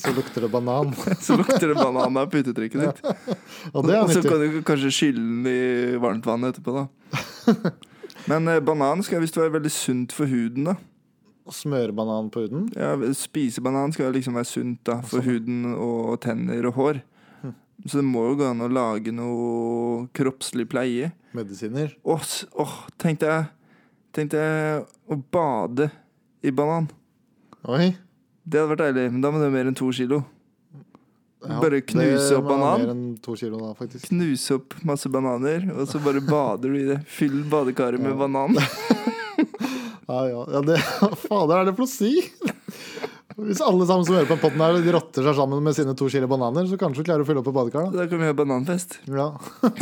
Speaker 2: Så lukter det banan.
Speaker 1: [LAUGHS] så lukter det banan av putetrekket ditt.
Speaker 2: Og det er
Speaker 1: Og så
Speaker 2: nyttig.
Speaker 1: kan du kanskje skylle den i varmt vann etterpå, da. [LAUGHS] Men eh, banan skal visst være veldig sunt for huden, da.
Speaker 2: Smøre banan på huden.
Speaker 1: Ja, spise banan skal liksom være sunt da, for
Speaker 2: Sånn,
Speaker 1: huden og tenner og hår.
Speaker 2: Hm.
Speaker 1: Så det må jo gå an å lage noe kroppslig pleie.
Speaker 2: Medisiner.
Speaker 1: Åh, s- åh, tenkte jeg Tenkte jeg å bade i banan.
Speaker 2: Oi.
Speaker 1: Det hadde vært deilig, men da må det være mer enn to kilo.
Speaker 2: Ja,
Speaker 1: Bare
Speaker 2: det
Speaker 1: knuse opp
Speaker 2: må ha
Speaker 1: banan.
Speaker 2: Mer enn to kilo da, faktisk.
Speaker 1: Knuse opp masse bananer, og så bare bader du i det. Fyll badekaret med banan.
Speaker 2: Ja, ja. ja det, [LAUGHS] hva fader er det for å si? Hvis alle sammen som hører på potten her, de rotter seg sammen med sine to kilo bananer, så kanskje vi klarer å fylle opp et badekar, da.
Speaker 1: Da kan vi ha bananfest.
Speaker 2: Ja. [LAUGHS]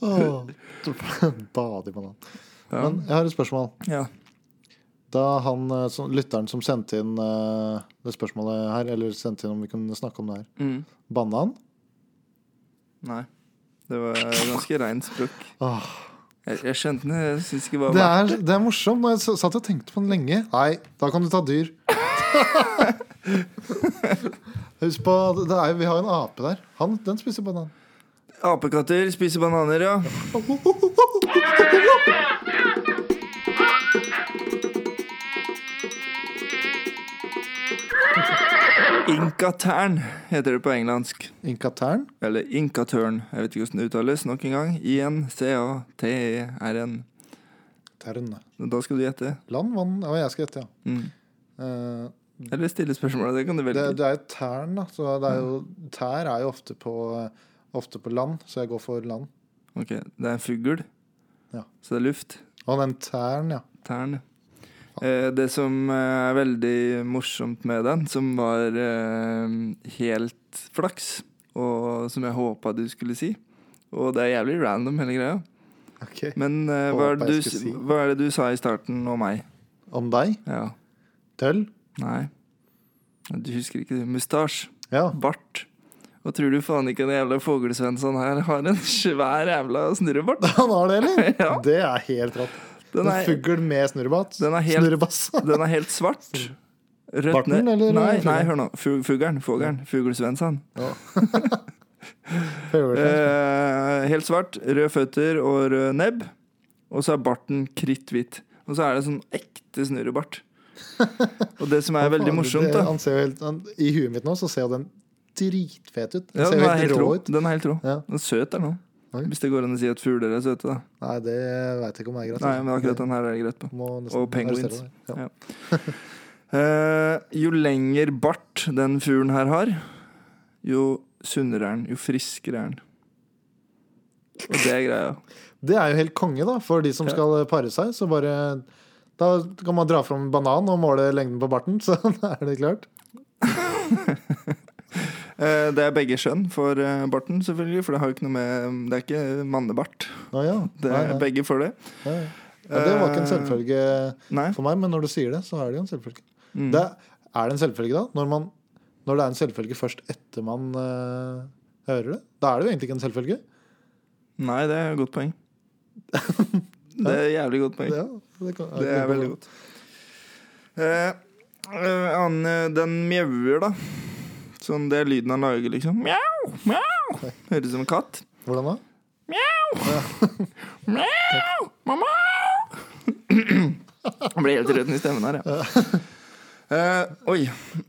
Speaker 2: Åh. [LAUGHS] Bade i banan.
Speaker 1: Ja.
Speaker 2: Men jeg har et spørsmål.
Speaker 1: ja.
Speaker 2: Da han, eh, som, lytteren som sendte inn eh, det spørsmålet her, eller sendte inn om vi kunne snakke om det her,
Speaker 1: Mm.
Speaker 2: banna han?
Speaker 1: Nei. Det var ganske reint språk.
Speaker 2: Åh.
Speaker 1: Jeg, jeg skjønte den. Jeg syns ikke det
Speaker 2: Det
Speaker 1: var
Speaker 2: er, det er morsomt. Når jeg s- satt og tenkte på den lenge. Nei, da kan du ta [LAUGHS] dyr. Husk på, det er, jo- Vi har jo en ape der. Han, den spiser banan.
Speaker 1: Apekatter spiser bananer, ja. Inkatern heter det på engelsk.
Speaker 2: Inkatern.
Speaker 1: Eller inkatern. Jeg vet ikke hvordan det uttales. Nok en gang. E I-N-C-A-T-E-R-N.
Speaker 2: Tern.
Speaker 1: Da skal du gjette.
Speaker 2: Land, vann Ja, jeg skal gjette, ja.
Speaker 1: Mm.
Speaker 2: Eh,
Speaker 1: Eller stille spørsmål. Det kan du velge.
Speaker 2: det, det er jo tern, da. Så det er jo, tær er jo ofte på, ofte på land, så jeg går for land.
Speaker 1: Ok, Det er en fugl.
Speaker 2: Ja.
Speaker 1: Så det er luft.
Speaker 2: Og den tern, ja.
Speaker 1: Tern. Eh, det som eh, er veldig morsomt med den, som var eh, helt flaks, og som jeg håpa du skulle si Og det er jævlig random, hele greia.
Speaker 2: Ok.
Speaker 1: Men eh, hva, er det
Speaker 2: Håpet jeg
Speaker 1: du,
Speaker 2: skulle si.
Speaker 1: hva er det du sa i starten om meg?
Speaker 2: Om deg?
Speaker 1: Ja.
Speaker 2: Tøll?
Speaker 1: Nei. Du husker ikke det. Mustasje.
Speaker 2: Ja.
Speaker 1: Bart. Og tror du faen ikke den jævla Fuglesvensson her har en svær jævla snurrebart?
Speaker 2: [LAUGHS] Han har det, eller?
Speaker 1: [LAUGHS] Ja.
Speaker 2: Det er helt rått.
Speaker 1: Den
Speaker 2: en
Speaker 1: er,
Speaker 2: fugl med snurrebass.
Speaker 1: Den er helt-
Speaker 2: Snurrebass.
Speaker 1: [LAUGHS] den er helt svart. Rødt
Speaker 2: Barten,
Speaker 1: ned-
Speaker 2: eller
Speaker 1: Nei,
Speaker 2: fuglen?
Speaker 1: nei hør nå. Fu- Fuglen. Fuglen. Fuglesvensson.
Speaker 2: Favorite.
Speaker 1: Eh, helt svart, røde føtter og rød nebb. Og så er barten kritthvit. Og så er det sånn ekte snurrebart. Og det
Speaker 2: [LAUGHS]
Speaker 1: som er veldig
Speaker 2: Faen,
Speaker 1: morsomt,
Speaker 2: det-
Speaker 1: da
Speaker 2: Han ser jo helt, han, I huet mitt nå så ser jo den dritfet ut. Den
Speaker 1: ja,
Speaker 2: ser
Speaker 1: den,
Speaker 2: jo
Speaker 1: er
Speaker 2: helt
Speaker 1: helt rå.
Speaker 2: rå ut.
Speaker 1: den er helt rå.
Speaker 2: Ja.
Speaker 1: Den er søt er nå.
Speaker 2: Oi.
Speaker 1: Hvis det går an å si at fugler er søte, da.
Speaker 2: Nei, det veit jeg ikke om jeg er greit. altså.
Speaker 1: Nei, men akkurat den her er det greit på.
Speaker 2: Må nesten
Speaker 1: Og penguins.
Speaker 2: arrestere deg. Ja.
Speaker 1: Eh, jo lenger bart den fuglen her har, jo sunnere er den. Jo friskere er den. Og det er greia.
Speaker 2: Det er jo helt konge, da, for de som
Speaker 1: Ja.
Speaker 2: skal pare seg. Så bare Da kan man dra fram en banan og måle lengden på barten, [LAUGHS] så da er det klart.
Speaker 1: Eh, det er begge skjønn for eh, barten, selvfølgelig, for det har jo ikke noe med mm, Det er ikke mannebart.
Speaker 2: Å ja.
Speaker 1: Det
Speaker 2: Nei,
Speaker 1: er
Speaker 2: nei.
Speaker 1: begge for det. Eh,
Speaker 2: Ja, ja. Ja, det var ikke en selvfølge
Speaker 1: Nei.
Speaker 2: for meg, men når du sier det, så er det jo en selvfølge.
Speaker 1: Mm.
Speaker 2: Det, er det en selvfølge da? Når, man, når det er en selvfølge først etter man eh, hører det? Da er det jo egentlig ikke en selvfølge.
Speaker 1: Nei, det er et godt
Speaker 2: [LAUGHS]
Speaker 1: poeng. Det er et jævlig godt poeng.
Speaker 2: Ja, det, kan,
Speaker 1: Det er veldig godt. Eh, eh, annen, eh, den mjauer, da. Sånn, det er lyden han lager, liksom. Mjau, mjau. Høres ut som en katt.
Speaker 2: Hvordan da?
Speaker 1: Mjau, [CLEARS THROAT] mamma! Han ble helt rød i stemmen her, ja.
Speaker 2: [LAUGHS]
Speaker 1: Eh, oi,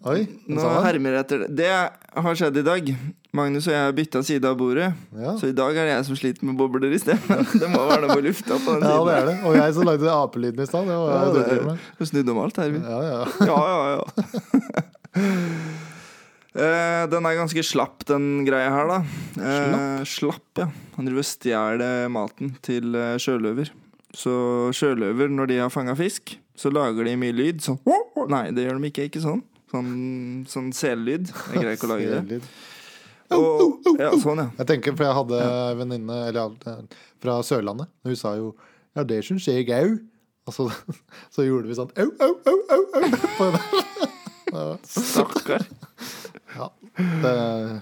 Speaker 2: Oi, den
Speaker 1: nå
Speaker 2: sa den.
Speaker 1: hermer jeg etter det. Det har skjedd i dag. Magnus og jeg har bytta side av bordet,
Speaker 2: Ja.
Speaker 1: så i dag er det jeg som sliter med bobler i stemmen. [LAUGHS] Det må være noe på lufta på den
Speaker 2: ja,
Speaker 1: siden.
Speaker 2: det er det. Og jeg som lagde apelyden i stad. Det var jeg
Speaker 1: Ja,
Speaker 2: ja,
Speaker 1: det
Speaker 2: det,
Speaker 1: er-
Speaker 2: med.
Speaker 1: Du snudde om alt her. vi.
Speaker 2: Ja, ja.
Speaker 1: Ja, ja, ja. [LAUGHS] Eh, den er ganske slapp, den greia her, da. Eh, slapp, ja. Han driver og stjeler maten til eh, sjøløver. Så sjøløver, når de har fanga fisk, så lager de mye lyd. Sånn [LAUGHS] Nei, det gjør de ikke. Ikke sånn. Sånn, sånn sellyd. Jeg greier ikke å lage det.
Speaker 2: Selvlyd.
Speaker 1: Og, ja, sånn, ja.
Speaker 2: Jeg tenker, for jeg hadde en venninne eller, ja, fra Sørlandet, og hun sa jo Ja, det syns jeg au. Og så, [LAUGHS] så gjorde vi sånn au, au, au, au, au. [LAUGHS] På henne.
Speaker 1: Stakkar.
Speaker 2: Ja. Det,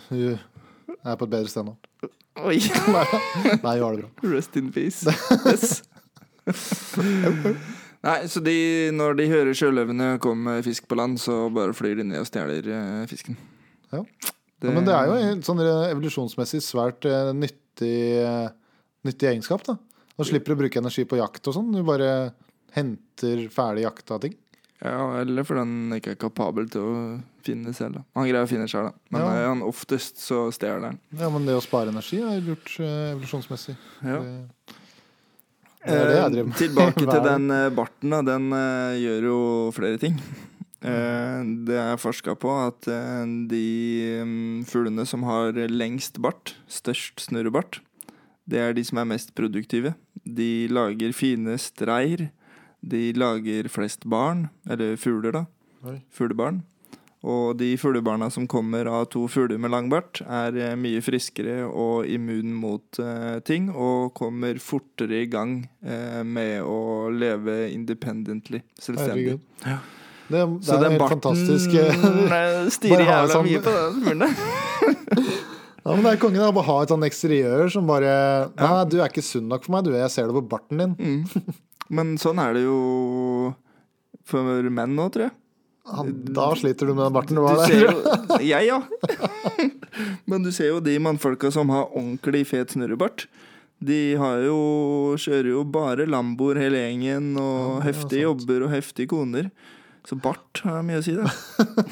Speaker 2: hun eh, er på et bedre sted nå. [LAUGHS]
Speaker 1: Oi.
Speaker 2: Nei, hun har det bra.
Speaker 1: Rest in
Speaker 2: [LAUGHS]
Speaker 1: peace. Yes. Nei, så de, når de hører sjøløvene komme med fisk på land, så bare flyr de ned og stjeler eh, fisken.
Speaker 2: Ja. Ja, men det er jo en sånn evolusjonsmessig svært eh, nyttig, eh, nyttig egenskap. da. Man slipper å bruke energi på jakt og sånn. Du bare henter ferdig jakta ting.
Speaker 1: Ja, eller fordi han ikke er kapabel til å finne selv. Da. Han greier å finne sjøl, da. Men
Speaker 2: Ja.
Speaker 1: eh, han oftest så stjeler han.
Speaker 2: Ja, Men det å spare energi er lurt eh, evolusjonsmessig.
Speaker 1: Ja.
Speaker 2: Det- Det er det jeg driver
Speaker 1: Eh,
Speaker 2: med. [LAUGHS]
Speaker 1: tilbake til
Speaker 2: Hver-
Speaker 1: den eh, barten. Da. Den eh, gjør jo flere ting.
Speaker 2: Mm.
Speaker 1: Eh, det er forska på at eh, de mm, fuglene som har lengst bart, størst snurrebart, det er de som er mest produktive. De lager fine streier. De lager flest barn, eller fugler, da.
Speaker 2: Oi.
Speaker 1: Fuglebarn. Og de fuglebarna som kommer av to fugler med lang bart, er eh, mye friskere og immun mot eh, ting, og kommer fortere i gang eh, med å leve independently, selvstendig.
Speaker 2: Herregud. Det, det
Speaker 1: Så
Speaker 2: er
Speaker 1: den
Speaker 2: helt
Speaker 1: barten [LAUGHS]
Speaker 2: fantastisk. [LAUGHS]
Speaker 1: eh,
Speaker 2: ja,
Speaker 1: styrer
Speaker 2: Bare ha
Speaker 1: jævla
Speaker 2: sånn-
Speaker 1: mye på den fuglen.
Speaker 2: [LAUGHS] men det er kongen å bare ha et sånn eksteriør som bare Nei, du er ikke sunn nok for meg, du. Jeg ser det på barten din.
Speaker 1: Mm. Men sånn er det jo for menn nå, tror jeg.
Speaker 2: Ja, Da sliter du med den barten du
Speaker 1: Du
Speaker 2: har
Speaker 1: ser
Speaker 2: der.
Speaker 1: jo [LAUGHS] Jeg, ja. Men du ser jo de mannfolka som har ordentlig fet snurrebart. De har jo, kjører jo bare Lamboer hele gjengen, og
Speaker 2: Ja, det er
Speaker 1: heftige
Speaker 2: sant.
Speaker 1: jobber og heftige koner. Så bart har mye å si, [LAUGHS] det.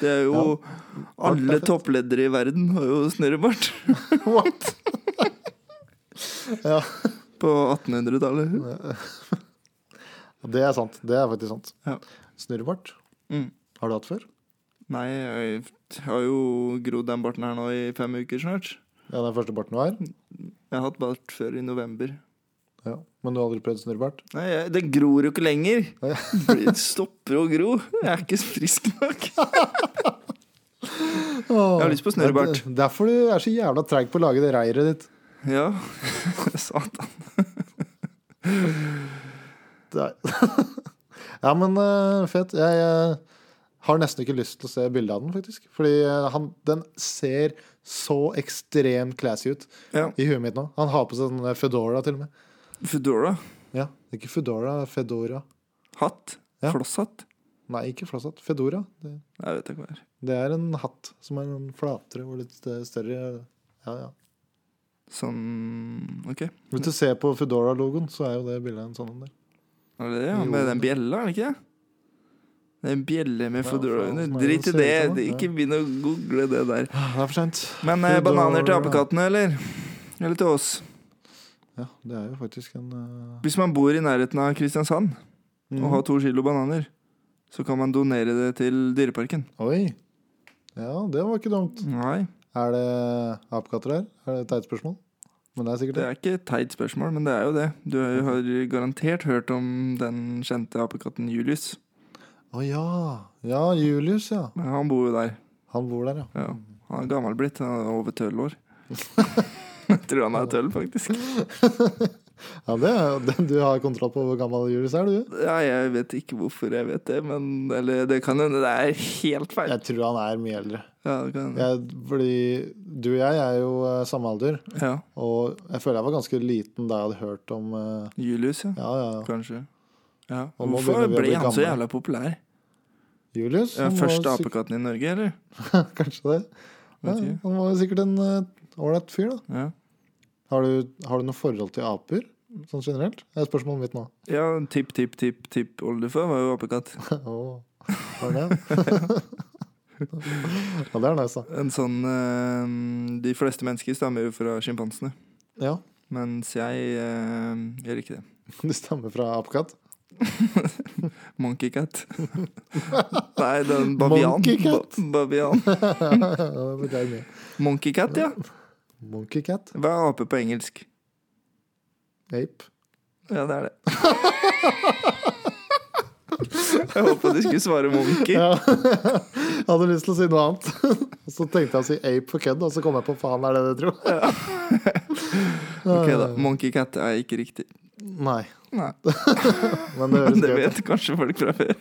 Speaker 1: Det er jo Alle toppledere i verden har jo snurrebart. [LAUGHS]
Speaker 2: [LAUGHS] What? ja.
Speaker 1: På 1800-tallet.
Speaker 2: Det er sant. Det er faktisk sant.
Speaker 1: Ja.
Speaker 2: Snurrebart.
Speaker 1: Mm.
Speaker 2: Har du hatt før?
Speaker 1: Nei, jeg har jo grodd den barten her nå i fem uker snart.
Speaker 2: Ja, den første barten du har?
Speaker 1: Mm. Jeg har hatt bart før i november.
Speaker 2: Ja. Men du har aldri prøvd snurrebart?
Speaker 1: Nei, jeg- Den gror jo ikke lenger.
Speaker 2: Nei.
Speaker 1: Det stopper å gro. Jeg er ikke frisk nok.
Speaker 2: Jeg
Speaker 1: har lyst på snurrebart.
Speaker 2: Derfor du er så jævla treig på å lage det reiret ditt.
Speaker 1: Ja, [LAUGHS] satan.
Speaker 2: Det er- [LAUGHS] ja, men eh, fett. Jeg eh, har nesten ikke lyst til å se bildet av den, faktisk. Fordi eh, han, den ser så ekstremt classy ut
Speaker 1: Ja.
Speaker 2: i huet mitt nå. Han har på seg sånn Fedora, til og med.
Speaker 1: Foodora.
Speaker 2: Ja, Ikke Foodora, Fedora.
Speaker 1: Hatt.
Speaker 2: Ja.
Speaker 1: Flosshatt.
Speaker 2: Nei, ikke flosshatt. Fedora. Det,
Speaker 1: Jeg vet ikke hva det er.
Speaker 2: det er en hatt som er en flatere og litt eh, større. Ja, ja.
Speaker 1: Sånn OK.
Speaker 2: Hvis du ser på Foodora-logoen, så er jo det bildet en sånn en der.
Speaker 1: Er det det? ja?
Speaker 2: Jo.
Speaker 1: Med den bjella, er det ikke det? Det er en bjelle med
Speaker 2: Ja,
Speaker 1: Foodora
Speaker 2: faen,
Speaker 1: under.
Speaker 2: som er
Speaker 1: Drit i det.
Speaker 2: det ser ut som, da.
Speaker 1: Ikke begynn å google det der.
Speaker 2: Ah, Det er for seint.
Speaker 1: Men eh, bananer til
Speaker 2: Foodora.
Speaker 1: apekattene, eller? Eller til oss?
Speaker 2: Ja, det er jo faktisk en eh,
Speaker 1: Hvis man bor i nærheten av Kristiansand og
Speaker 2: Mhm.
Speaker 1: har to kilo bananer, så kan man donere det til Dyreparken.
Speaker 2: mm. Oi. Ja, det var ikke dumt.
Speaker 1: Nei.
Speaker 2: Er det apekatter her? Er det et teit spørsmål? Men det er sikkert
Speaker 1: Det
Speaker 2: det.
Speaker 1: er ikke et teit spørsmål, men det er jo det. Du har
Speaker 2: Mhm.
Speaker 1: garantert hørt om den kjente apekatten Julius.
Speaker 2: Å ja. Ja, Julius, ja.
Speaker 1: Han bor jo der.
Speaker 2: Han bor der, ja.
Speaker 1: Ja. Han er gammel blitt. Han er over
Speaker 2: [LAUGHS]
Speaker 1: tøllår. Jeg tror han er tøll, faktisk.
Speaker 2: ja det er, jo- [LAUGHS] det- du har kontroll på hvor gammel Julius er, du?
Speaker 1: Ja, jeg vet ikke hvorfor jeg vet det, men Eller det kan hende det er helt feil.
Speaker 2: Jeg tror han er mye eldre.
Speaker 1: Ja, det kan,
Speaker 2: Jeg, fordi du og jeg er jo eh, samme alder,
Speaker 1: ja.
Speaker 2: og jeg føler jeg var ganske liten da jeg hadde hørt om eh,
Speaker 1: Julius, ja.
Speaker 2: Ja, ja, ja.
Speaker 1: Kanskje. Ja.
Speaker 2: Og nå
Speaker 1: Hvorfor
Speaker 2: begynner vi å
Speaker 1: ble
Speaker 2: bli
Speaker 1: han så
Speaker 2: gamle.
Speaker 1: jævla populær?
Speaker 2: Julius?
Speaker 1: Ja,
Speaker 2: han var
Speaker 1: første
Speaker 2: sikkert-
Speaker 1: apekatten i Norge, eller?
Speaker 2: [LAUGHS] Kanskje det. Ja,
Speaker 1: Vet ikke.
Speaker 2: han var jo sikkert en eh, ålreit fyr, da.
Speaker 1: Ja.
Speaker 2: Har du, har du noe forhold til aper, sånn generelt? Det er spørsmålet mitt nå. [LAUGHS]
Speaker 1: ja, tipp, tipp, tipp, tipp oldefar var jo apekatt.
Speaker 2: Åh, var det det? [LAUGHS] ja, det er nice, da.
Speaker 1: En sånn eh, De fleste mennesker stammer jo fra sjimpansene.
Speaker 2: Ja,
Speaker 1: Mens jeg eh, gjør ikke det.
Speaker 2: du stammer fra apekatt? [LAUGHS]
Speaker 1: Monkeycat. Nei, den bavian.
Speaker 2: Monkeycat?
Speaker 1: Ba bavian.
Speaker 2: Ja, det betyr mye.
Speaker 1: Monkeycat, ja.
Speaker 2: Monkey cat,
Speaker 1: Hva er ape på engelsk?
Speaker 2: ape. [LAUGHS]
Speaker 1: Ja, det er det. Jeg håpa de skulle svare Monkey.
Speaker 2: Ja. [LAUGHS] Jeg hadde lyst til å si noe annet. [LAUGHS] Og så tenkte jeg å si ape for kødd, og så kom jeg på faen, er det det du tror? [LAUGHS]
Speaker 1: Ok da, Monkey Cat er ikke riktig.
Speaker 2: Nei.
Speaker 1: Nei,
Speaker 2: Men
Speaker 1: Men
Speaker 2: det høres
Speaker 1: det
Speaker 2: gøy ut.
Speaker 1: vet kanskje folk fra før.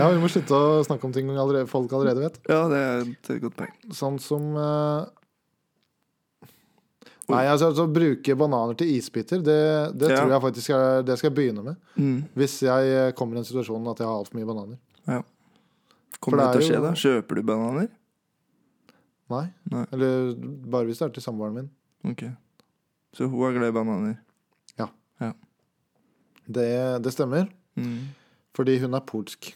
Speaker 2: Ja, vi må slutte å snakke om ting allerede, folk allerede vet.
Speaker 1: Ja, det er et godt poeng.
Speaker 2: Sånn som eh, Nei, altså, altså bruke bananer til isbiter, det, det
Speaker 1: Ja.
Speaker 2: tror jeg faktisk er Det skal jeg begynne med.
Speaker 1: Mm.
Speaker 2: Hvis jeg eh, kommer i en situasjon at jeg har altfor mye bananer.
Speaker 1: Ja.
Speaker 2: For
Speaker 1: Kommer det til å
Speaker 2: det er
Speaker 1: skje, da? Kjøper du bananer?
Speaker 2: Nei.
Speaker 1: Nei.
Speaker 2: Eller bare hvis det er til samboeren min.
Speaker 1: Ok. Så hun er glad i bananer.
Speaker 2: Det, det stemmer.
Speaker 1: Mm.
Speaker 2: Fordi hun er polsk.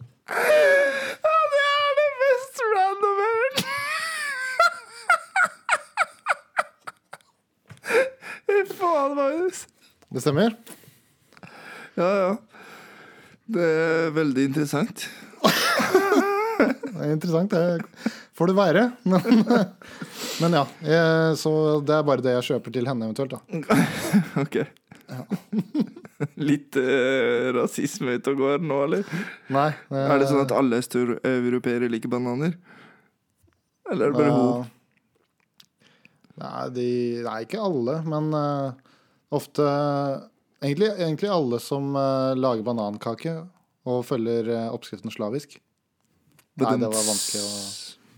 Speaker 1: Ja, det er det mest random jeg har hørt! Fy faen, Magnus.
Speaker 2: Det stemmer?
Speaker 1: Ja, ja. Det er veldig interessant.
Speaker 2: Det er interessant. Det får det være. [LAUGHS] Men, men ja. eh, Så det er bare det jeg kjøper til henne eventuelt, da.
Speaker 1: Ok. Litt eh, rasisme ute og går nå, eller?
Speaker 2: Nei. eh,
Speaker 1: Er det sånn at alle østeuropeere liker bananer? Eller er det bare
Speaker 2: Eh,
Speaker 1: hun?
Speaker 2: Nei, de, nei, ikke alle, men eh, ofte egentlig, egentlig alle som eh, lager banankake og følger eh, oppskriften slavisk. Nei, det var vanskelig å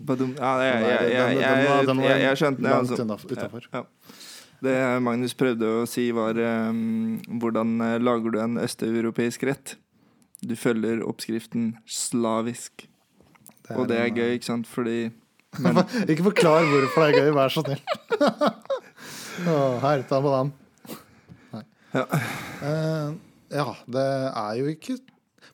Speaker 1: Badum. Ja, jeg,
Speaker 2: Nei,
Speaker 1: jeg,
Speaker 2: den-
Speaker 1: jeg,
Speaker 2: den-
Speaker 1: jeg,
Speaker 2: den var- den
Speaker 1: jeg, jeg
Speaker 2: var
Speaker 1: skjønte det.
Speaker 2: langt
Speaker 1: Altså.
Speaker 2: unna- utenfor.
Speaker 1: Ja, ja. Det Magnus prøvde å si, var ehm, hvordan eh, lager du en østeuropeisk rett? Du følger oppskriften slavisk. Og det er eh,
Speaker 2: en-
Speaker 1: gøy, ikke sant? Fordi
Speaker 2: eh, ikke forklar hvorfor det er gøy, vær så snill. [LAUGHS] Å, her, ta en banan. Nei.
Speaker 1: Ja.
Speaker 2: Eh, ja, det er jo ikke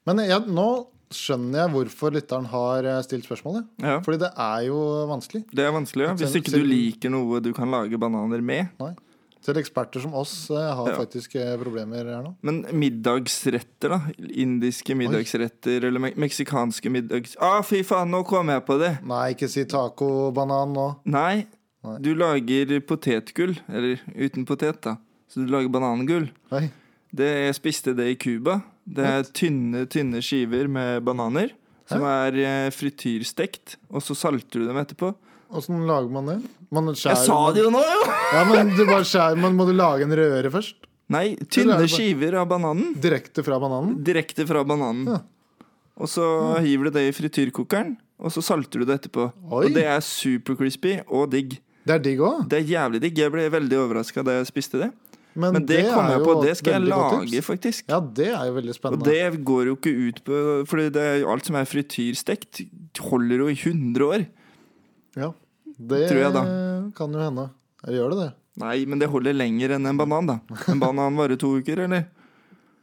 Speaker 2: Men jeg, nå skjønner jeg hvorfor lytteren har eh, stilt spørsmålet.
Speaker 1: Ja.
Speaker 2: Fordi det er jo vanskelig.
Speaker 1: Det er vanskelig. Ja. Hvis ikke du liker noe du kan lage bananer med.
Speaker 2: Nei. Selv eksperter som oss eh, har
Speaker 1: Ja.
Speaker 2: faktisk eh, problemer her nå.
Speaker 1: Men middagsretter, da? Indiske middagsretter eller me meksikanske middags... Ah, fy faen, nå kom jeg på det!
Speaker 2: Nei, ikke si tacobanan nå.
Speaker 1: Nei,
Speaker 2: Nei.
Speaker 1: du lager potetgull. Eller uten potet, da. Så du lager banangull.
Speaker 2: Oi.
Speaker 1: Det, jeg spiste det i Cuba. Det er tynne, tynne skiver med bananer. Som er eh, frityrstekt, og så salter du dem etterpå.
Speaker 2: Åssen lager man det? Man
Speaker 1: Jeg
Speaker 2: skjærer
Speaker 1: sa det jo nå, jo!
Speaker 2: Ja, men du bare skjærer Men må du lage en røre først?
Speaker 1: Nei,
Speaker 2: Eller er
Speaker 1: tynne
Speaker 2: det bare-
Speaker 1: skiver av bananen.
Speaker 2: Direkte fra bananen?
Speaker 1: Direkte fra bananen.
Speaker 2: Ja.
Speaker 1: Og så hiver du det i frityrkokeren, og så salter du det etterpå.
Speaker 2: Oi.
Speaker 1: Og det er super crispy og digg.
Speaker 2: Det er digg òg.
Speaker 1: Det er jævlig digg. Jeg ble veldig overraska da jeg spiste det.
Speaker 2: Men,
Speaker 1: Men det, kom
Speaker 2: er
Speaker 1: jeg
Speaker 2: jo
Speaker 1: på,
Speaker 2: et
Speaker 1: det skal jeg
Speaker 2: veldig godt
Speaker 1: lage,
Speaker 2: tips.
Speaker 1: faktisk.
Speaker 2: Ja, det er jo veldig
Speaker 1: Og
Speaker 2: spennende.
Speaker 1: det går jo ikke ut på For det er jo alt som er frityrstekt, holder jo i 100 år.
Speaker 2: ja, det
Speaker 1: Tror jeg da.
Speaker 2: kan jo hende. Gjør det det?
Speaker 1: Nei, men det holder lenger enn en banan, da. En banan varer to uker,
Speaker 2: [LAUGHS]
Speaker 1: eller?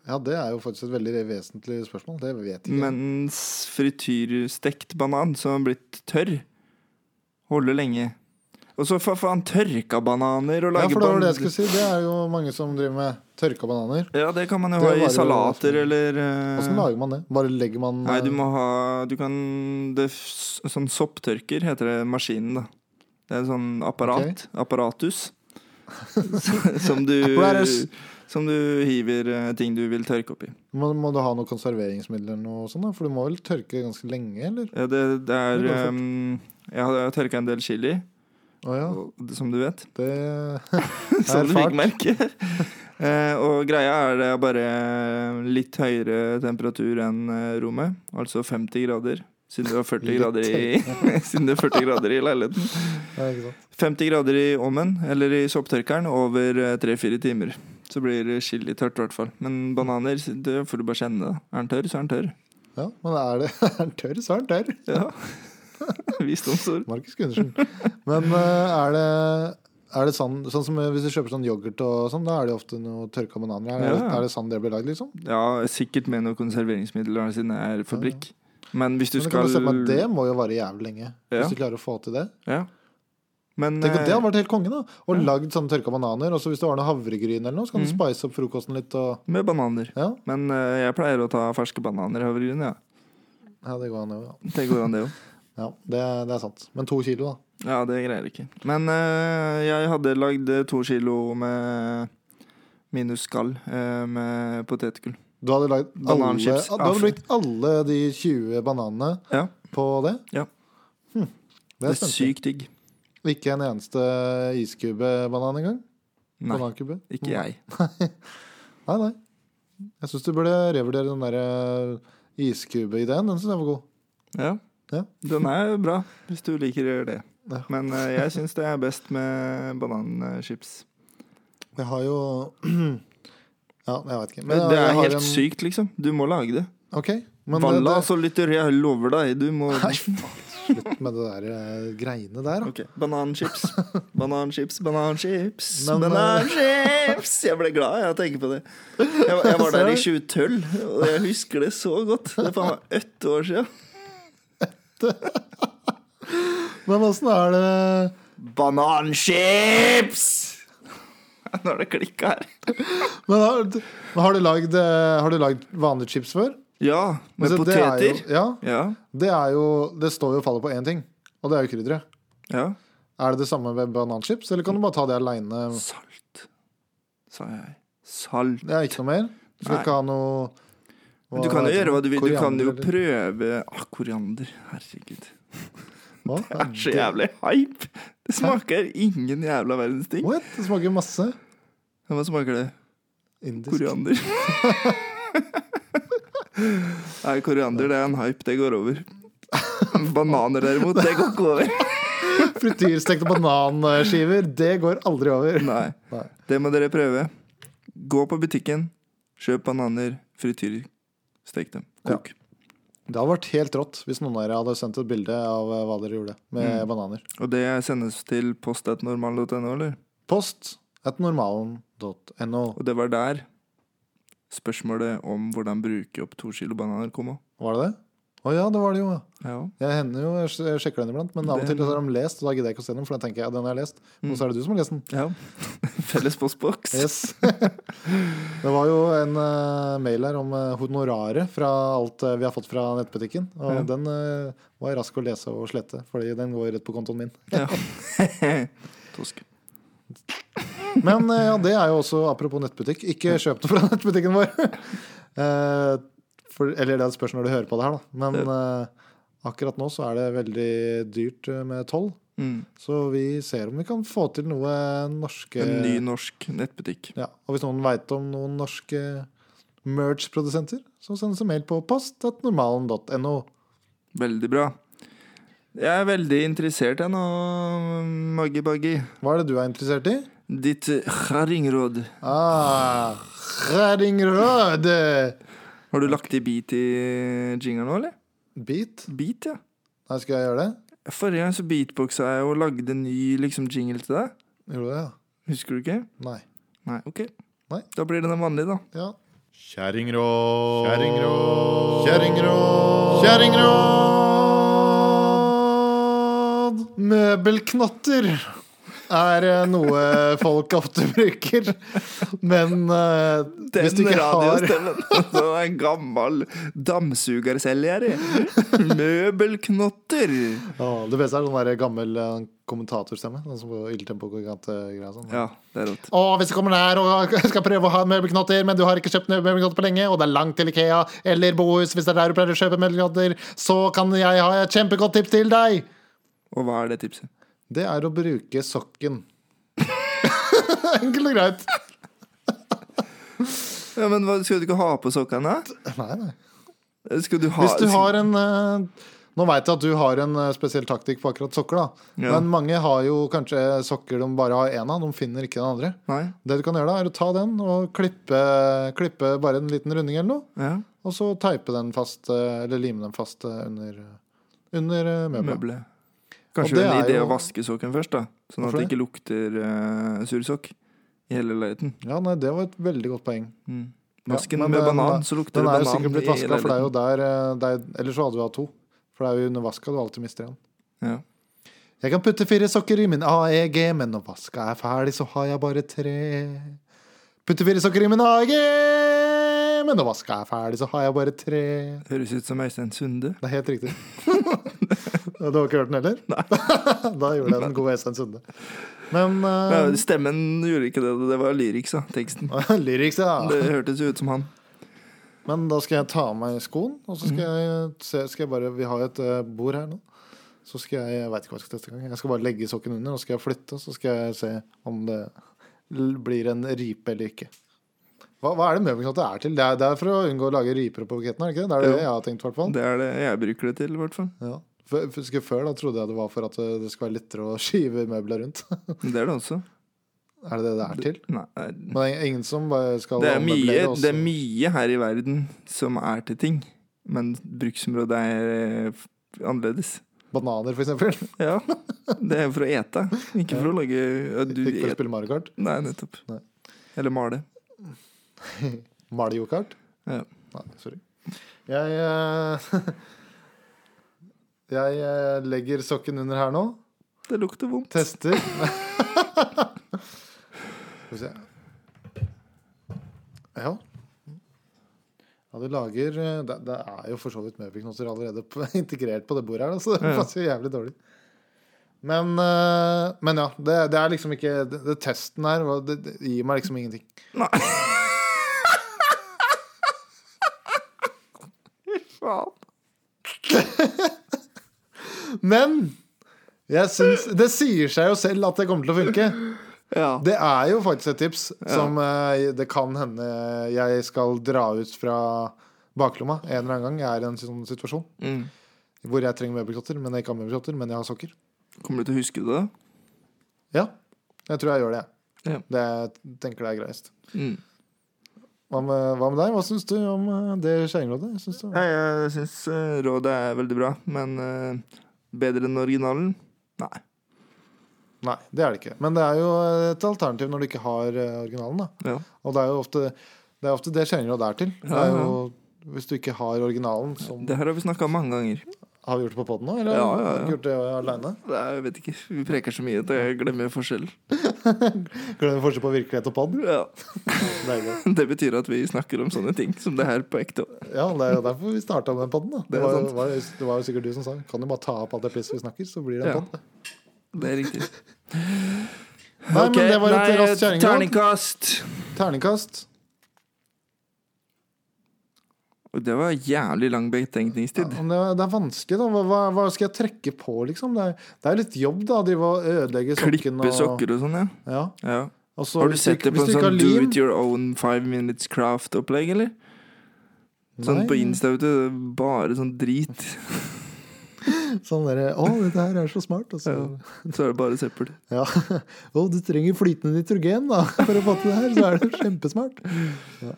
Speaker 2: Ja, det er jo faktisk et veldig vesentlig spørsmål. Det vet ikke jeg.
Speaker 1: Mens frityrstekt banan, som har blitt tørr, holder lenge. Og så for faen tørka bananer og
Speaker 2: Ja,
Speaker 1: lage
Speaker 2: for det var det
Speaker 1: ban-
Speaker 2: jeg skulle si. Det er jo mange som driver med tørka bananer.
Speaker 1: Ja, det kan man jo
Speaker 2: Det
Speaker 1: ha
Speaker 2: var
Speaker 1: i
Speaker 2: jo-
Speaker 1: salater eller eh,
Speaker 2: Åssen lager man det? Bare legger man
Speaker 1: Nei, du må ha Du kan det, er s- Sånn sopptørker heter det maskinen, da. Det er en sånn apparat.
Speaker 2: [LAUGHS]
Speaker 1: Apparatus. som du
Speaker 2: Apparatus.
Speaker 1: Som du hiver eh, ting du vil tørke oppi.
Speaker 2: må, må du ha noe konserveringsmiddel eller noe sånt? da? For du må vel tørke ganske lenge, eller?
Speaker 1: Ja, det, det er
Speaker 2: Det går fort.
Speaker 1: ehm, Jeg har tørka en del chili,
Speaker 2: Å ja.
Speaker 1: og- som du vet.
Speaker 2: Det
Speaker 1: [LAUGHS] Som du fikk
Speaker 2: erfart. [LAUGHS]
Speaker 1: merke. Eh, og greia er det er bare eh, litt høyere temperatur enn eh, rommet. Altså 50 grader. Siden det var 40
Speaker 2: Litt
Speaker 1: grader i, [LAUGHS] siden det er 40 grader i leiligheten.
Speaker 2: Ja, ikke sant.
Speaker 1: 50 grader i ovnen eller i sopptørkeren over eh, 3-4 timer. Så blir det chili tørt, i hvert fall. Men bananer det får du bare kjenne. da. Er den tørr, så er den tørr.
Speaker 2: Ja, men er det [LAUGHS] er den tørr, så er den tørr.
Speaker 1: Ja.
Speaker 2: [LAUGHS]
Speaker 1: Visdomsord.
Speaker 2: Markus Gundersen.
Speaker 1: [LAUGHS]
Speaker 2: Men eh, er det er det sånn, sånn som eh, Hvis du kjøper sånn yoghurt, og sånn, da er det ofte noe tørka bananer. Er, det-
Speaker 1: Ja.
Speaker 2: er det sånn det blir lagd, liksom?
Speaker 1: Ja, sikkert med noe konserveringsmiddel da, siden det er fabrikk. Men hvis du
Speaker 2: Men det, kan
Speaker 1: skal
Speaker 2: jeg se for meg, at det må jo vare jævlig lenge.
Speaker 1: Ja.
Speaker 2: Hvis du klarer å få til det.
Speaker 1: Ja. Men
Speaker 2: Tenk at
Speaker 1: eh,
Speaker 2: Det hadde vært helt konge, da. Og lagd sånne tørka bananer. Og så hvis du har noe havregryn eller noe, så kan
Speaker 1: Mm.
Speaker 2: du spice opp frokosten litt og
Speaker 1: eh, med bananer.
Speaker 2: Ja,
Speaker 1: Men eh, jeg pleier å ta ferske bananer i havregryn, ja.
Speaker 2: ja det går an, jo. Ja.
Speaker 1: Det går an, det òg.
Speaker 2: Ja, det, det er sant. Men to kilo, da.
Speaker 1: Ja, det greier jeg ikke. Men eh, jeg hadde lagd eh, to kilo med minus skall eh, med potetgull.
Speaker 2: Du hadde lagd alle, du
Speaker 1: Bananchips.
Speaker 2: hadde brukt alle de 20 bananene
Speaker 1: Ja,
Speaker 2: på det?
Speaker 1: Ja.
Speaker 2: Hm. Det
Speaker 1: det
Speaker 2: er
Speaker 1: er
Speaker 2: spennende.
Speaker 1: sykt digg.
Speaker 2: Ikke en eneste iskubebanan engang?
Speaker 1: Nei,
Speaker 2: Banankube?
Speaker 1: ikke jeg.
Speaker 2: Nei, nei. Jeg syns du burde revurdere den der iskube-ideen. Den syns jeg var god.
Speaker 1: Ja.
Speaker 2: Ja.
Speaker 1: Den er bra, hvis du liker det.
Speaker 2: Ja.
Speaker 1: Men eh, jeg syns det er best med bananchips.
Speaker 2: Jeg har jo [CLEARS THROAT] Ja, jeg veit ikke.
Speaker 1: Men det
Speaker 2: eh, jeg-
Speaker 1: er
Speaker 2: jeg har
Speaker 1: helt
Speaker 2: en-
Speaker 1: sykt, liksom. Du må lage det.
Speaker 2: Ok. Men eh, det,
Speaker 1: Valla,
Speaker 2: det,
Speaker 1: altså, lytter, jeg lover deg. Du må
Speaker 2: [LAUGHS] Nei, faen, slutt med det der eh, greiene der. da.
Speaker 1: Ok, Bananchips, bananchips, bananchips.
Speaker 2: [LAUGHS] Men, eh,
Speaker 1: Bananchips! Jeg ble glad jeg av å tenke på det. Jeg, jeg var
Speaker 2: [LAUGHS]
Speaker 1: der i 2012, og jeg husker det så godt. Det er faen meg ett år siden.
Speaker 2: Men åssen er det
Speaker 1: Bananchips! [LAUGHS] Nå har det klikka her.
Speaker 2: Men har, men har du lagd, eh, har du lagd vanlige chips før?
Speaker 1: Ja, med
Speaker 2: Altså, det er
Speaker 1: poteter.
Speaker 2: Jo, ja.
Speaker 1: Ja,
Speaker 2: Det er jo Det står jo og faller på én ting, og det er jo krydderet.
Speaker 1: ja.
Speaker 2: Er det det samme med bananchips, eller kan du bare ta det aleine?
Speaker 1: Salt, sa jeg. Salt.
Speaker 2: Det er ikke noe mer? Du skal
Speaker 1: Nei.
Speaker 2: ikke ha noe
Speaker 1: Men Du kan jo gjøre hva du vil. Du kan jo
Speaker 2: Koriander, eller-
Speaker 1: prøve ah, Koriander. Herregud.
Speaker 2: Hva?
Speaker 1: [LAUGHS] Det er så jævlig hype! Det smaker ingen jævla verdens ting.
Speaker 2: What? Det smaker masse
Speaker 1: Hva smaker det?
Speaker 2: indisk. [LAUGHS]
Speaker 1: Koriander. Nei, koriander det er en hype. Det går over. Bananer derimot, det går ikke
Speaker 2: [LAUGHS]
Speaker 1: over.
Speaker 2: Frityrstekte bananskiver, det går aldri over.
Speaker 1: Nei.
Speaker 2: Nei.
Speaker 1: Det må dere prøve. Gå på butikken, kjøp bananer, frityr, stek dem. Kok.
Speaker 2: Det hadde vært helt rått hvis noen av dere hadde sendt et bilde av eh, hva dere gjorde med
Speaker 1: Mm.
Speaker 2: bananer.
Speaker 1: Og det sendes til post.normal.no, eller?
Speaker 2: Post at normalen.no.
Speaker 1: Og det var der spørsmålet om hvordan bruke opp to kilo bananer kom òg.
Speaker 2: Var det det? Å ja, det var det jo. ja.
Speaker 1: Ja.
Speaker 2: Jeg hender jo, jeg sj- jeg sjekker den iblant, men av og
Speaker 1: Det-
Speaker 2: til så har de lest, og da gidder jeg ikke å se den, for da tenker jeg ja, den har jeg lest. Og så er det du som har lest den.
Speaker 1: ja. [LAUGHS] Felles postboks.
Speaker 2: Yes. [LAUGHS] det var jo en eh, mail her om eh, honoraret fra alt eh, vi har fått fra nettbutikken. Og
Speaker 1: Ja.
Speaker 2: den eh, var rask å lese og slette, fordi den går rett på kontoen min.
Speaker 1: Ja. [LAUGHS] Tosk.
Speaker 2: Men eh, ja, det er jo også apropos nettbutikk. Ikke kjøp det fra [LAUGHS] nettbutikken vår. Eh, for, eller det spørs når du hører på det her, da. Men eh, akkurat nå så er det veldig dyrt eh, med toll.
Speaker 1: Mm.
Speaker 2: Så vi ser om vi kan få til noe norske
Speaker 1: En ny norsk nettbutikk.
Speaker 2: ja, Og hvis noen veit om noen norske merch-produsenter, så sendes en mail på post.normalen.no.
Speaker 1: Veldig bra. Jeg er veldig interessert jeg nå, Maggi Baggi.
Speaker 2: Hva er det du er interessert i?
Speaker 1: Ditt eh, kjerringråd.
Speaker 2: Ah, Rød!
Speaker 1: Har du lagt i beat i jingeren nå, eller?
Speaker 2: Beat?
Speaker 1: Beat, ja.
Speaker 2: Nei, skal jeg gjøre det?
Speaker 1: Forrige gang så beatboxa jeg og lagde en ny liksom, jingle til deg.
Speaker 2: Gjorde du det, ja?
Speaker 1: Husker du ikke?
Speaker 2: Nei.
Speaker 1: Nei, ok.
Speaker 2: Nei.
Speaker 1: Da blir det den vanlige, da.
Speaker 2: Ja.
Speaker 3: Kjerringrå.
Speaker 2: Kjerringråd! Kjerringråd! Møbelknotter er eh, noe folk ofte bruker. Men eh,
Speaker 1: Den
Speaker 2: hvis du ikke
Speaker 1: [LAUGHS]
Speaker 2: har
Speaker 1: radiostemmen. Den er en gammel dammsugerselger. i. Møbelknotter.
Speaker 2: Å, Det beste er sånn der gammel eh, kommentatorstemme. Sånn som på Ildtempo Gigante-greia sånn.
Speaker 1: Ja, det er rått.
Speaker 2: Å, hvis du kommer der og skal prøve å ha møbelknotter, men du har ikke kjøpt møbelknotter på lenge, og det er langt til Ikea eller Bohus, hvis det er der du pleier å kjøpe møbelknotter, så kan jeg ha et kjempegodt tips til deg!
Speaker 1: Og hva er det tipset?
Speaker 2: Det er å bruke sokken. Enkelt og greit.
Speaker 1: Ja, men hva, Skal du ikke ha på sokkene?
Speaker 2: Nei, nei.
Speaker 1: Skal du ha
Speaker 2: Hvis du har en eh, Nå veit jeg at du har en eh, spesiell taktikk på akkurat sokker, da.
Speaker 1: Ja.
Speaker 2: Men mange har jo kanskje sokker de bare har én av. De finner ikke den andre.
Speaker 1: Nei?
Speaker 2: Det du kan gjøre da, er å ta den og klippe, klippe bare en liten runding eller noe.
Speaker 1: Ja,
Speaker 2: Og så teipe den fast, eh, eller lime den fast eh, under, under eh, møbelet.
Speaker 1: møblet.
Speaker 2: Og
Speaker 1: Kanskje
Speaker 2: det
Speaker 1: en
Speaker 2: er
Speaker 1: idé
Speaker 2: jo-
Speaker 1: å vaske sokken først, da. Sånn at
Speaker 2: Hvorfor
Speaker 1: det
Speaker 2: det?
Speaker 1: ikke lukter uh, sursokk i hele leiligheten.
Speaker 2: Ja, nei, det var et veldig godt poeng.
Speaker 1: Mm.
Speaker 2: Ja,
Speaker 1: Vasken
Speaker 2: men
Speaker 1: med
Speaker 2: den er-
Speaker 1: banan, så lukter
Speaker 2: Den
Speaker 1: det
Speaker 2: er
Speaker 1: banan.
Speaker 2: jo sikkert
Speaker 1: i
Speaker 2: blitt vaska, for det er jo
Speaker 1: leiligheten.
Speaker 2: der eh, det er, Ellers så hadde du hatt to. For det er jo under vaska du alltid mister en.
Speaker 1: Ja.
Speaker 2: Jeg kan putte fire sokker i min AEG, men når vaska er ferdig, så har jeg bare tre. Putte fire sokker i min AEG, men når vaska er ferdig, så har jeg bare tre.
Speaker 1: [LAUGHS] Høres ut som Øystein Sunde.
Speaker 2: Det er helt riktig. Du har ikke hørt den heller? [LAUGHS] da gjorde jeg den gode Øystein Sunde. Men uh,
Speaker 1: Nei, Stemmen gjorde ikke det. Det var lyriks, da. Teksten.
Speaker 2: eh, [LAUGHS] lyrics, ja.
Speaker 1: Det hørtes jo ut som han.
Speaker 2: Men da skal jeg ta av meg skoen, og så skal
Speaker 1: Mhm.
Speaker 2: jeg se skal jeg bare, Vi har et eh, bord her nå. Så skal jeg Jeg veit ikke hva jeg skal teste engang. Jeg skal bare legge sokken under, og så skal jeg flytte, og så skal jeg se om det l- blir en ripe eller ikke. Hva, hva er det møbelknotter er til? Det er, det er for å unngå å lage riper på buketten, er det ikke det? Det er det jeg har tenkt, i hvert fall.
Speaker 1: Det er det jeg bruker det til, i hvert fall.
Speaker 2: Ja. Før, husker jeg før da trodde jeg det var for at eh, det skal være lettere å [LAUGHS] skyve møbler rundt.
Speaker 1: Men Det er det også.
Speaker 2: er det det det er til?
Speaker 1: Nei,
Speaker 2: Men det er ingen som bare skal
Speaker 1: det er, mye,
Speaker 2: ommøblere også.
Speaker 1: det er mye her i verden som er til ting, men bruksområdet er eh, f- annerledes.
Speaker 2: Bananer, for eksempel.
Speaker 1: Ja. Det er for å ete, ikke for å lage ja, Du
Speaker 2: Ikke for å
Speaker 1: et-
Speaker 2: spille Mario Kart.
Speaker 1: Nei, nettopp.
Speaker 2: Nei.
Speaker 1: Eller male.
Speaker 2: Mario Kart.
Speaker 1: Ja.
Speaker 2: Nei, sorry. Jeg eh, [LAUGHS] Jeg eh, legger sokken under her nå.
Speaker 1: Det lukter vondt.
Speaker 2: Tester. [LAUGHS] Skal vi se. Ja. Ja, du lager eh, Det, det er jo for så vidt møbelknotter allerede på, [LAUGHS] integrert på det bordet her, da, så det
Speaker 1: Ja.
Speaker 2: passer jo jævlig dårlig. Men, eh, men ja. Det, det er liksom ikke det, det Testen her var- det, det gir meg liksom ingenting.
Speaker 1: Nei. Fy faen.
Speaker 2: Men jeg syns Det sier seg jo selv at det kommer til å funke.
Speaker 1: Ja.
Speaker 2: Det er jo faktisk et tips som eh, det kan hende jeg skal dra ut fra baklomma en eller annen gang. Jeg er i en sånn situasjon
Speaker 1: Mm.
Speaker 2: hvor jeg trenger møbelklotter, men jeg ikke har møbelklotter, men jeg har sokker.
Speaker 1: Kommer du til å huske det? da?
Speaker 2: Ja, jeg tror jeg gjør det. jeg.
Speaker 1: Ja.
Speaker 2: Det jeg tenker det er greiest.
Speaker 1: Mm.
Speaker 2: Hva med, hva med deg? Hva syns du om eh, det skjæringrådet? Jeg syns det-
Speaker 1: Nei, jeg syns eh, rådet er veldig bra, men eh, bedre enn originalen? Nei.
Speaker 2: Nei, det er det ikke. Men det er jo et alternativ når du ikke har eh, originalen. da
Speaker 1: Ja.
Speaker 2: Og det er jo ofte det, er ofte det skjæringråd er til. Det
Speaker 1: Ja,
Speaker 2: er
Speaker 1: ja.
Speaker 2: jo, hvis du ikke har originalen, som
Speaker 1: Det her har vi snakka mange ganger.
Speaker 2: Har vi gjort det på poden nå? Eller
Speaker 1: Ja, ja, ja.
Speaker 2: har vi ikke gjort det aleine?
Speaker 1: Nei, jeg vet ikke. Vi preker så mye at jeg glemmer forskjellen.
Speaker 2: Glemmer forskjell på virkelighet og pod.
Speaker 1: Ja. [LAUGHS]
Speaker 2: Deilig.
Speaker 1: Det betyr at vi snakker om sånne ting som det her på ekte.
Speaker 2: Ja, det er jo derfor vi starta med poden. Det,
Speaker 1: Det er
Speaker 2: var-
Speaker 1: sant.
Speaker 2: var- det var jo sikkert du som sa kan du bare ta opp alt det pisset vi snakker, så blir
Speaker 1: Ja.
Speaker 2: det en pod.
Speaker 1: Det er riktig.
Speaker 2: Nei,
Speaker 1: Ok,
Speaker 2: men det var
Speaker 1: nei,
Speaker 2: et raskt kjerringråd.
Speaker 1: Terningkast.
Speaker 2: Terningkast.
Speaker 1: Og det var jævlig lang betenkningstid.
Speaker 2: Ja, men det, er- det er vanskelig, da. Hva, hva, hva skal jeg trekke på, liksom? Det er, det er litt jobb, da. De var ødelegge sokken
Speaker 1: Klippe
Speaker 2: og
Speaker 1: sokker og sånn, ja.
Speaker 2: ja.
Speaker 1: ja.
Speaker 2: Og så
Speaker 1: Har du
Speaker 2: hvis
Speaker 1: sett
Speaker 2: ikke-
Speaker 1: det på
Speaker 2: hvis du
Speaker 1: en
Speaker 2: ikke har
Speaker 1: sånn do
Speaker 2: lim-
Speaker 1: it your own five minutes craft-opplegg, eller? Sånn
Speaker 2: Nei.
Speaker 1: på Insta, vet du. det er Bare sånn drit.
Speaker 2: Sånn derre Å, dette her er så smart. Og så
Speaker 1: Ja. Så er det bare søppel.
Speaker 2: Ja. [LAUGHS] Og du trenger flytende nitrogen da, [LAUGHS] for å få til det her, så er det kjempesmart. Ja.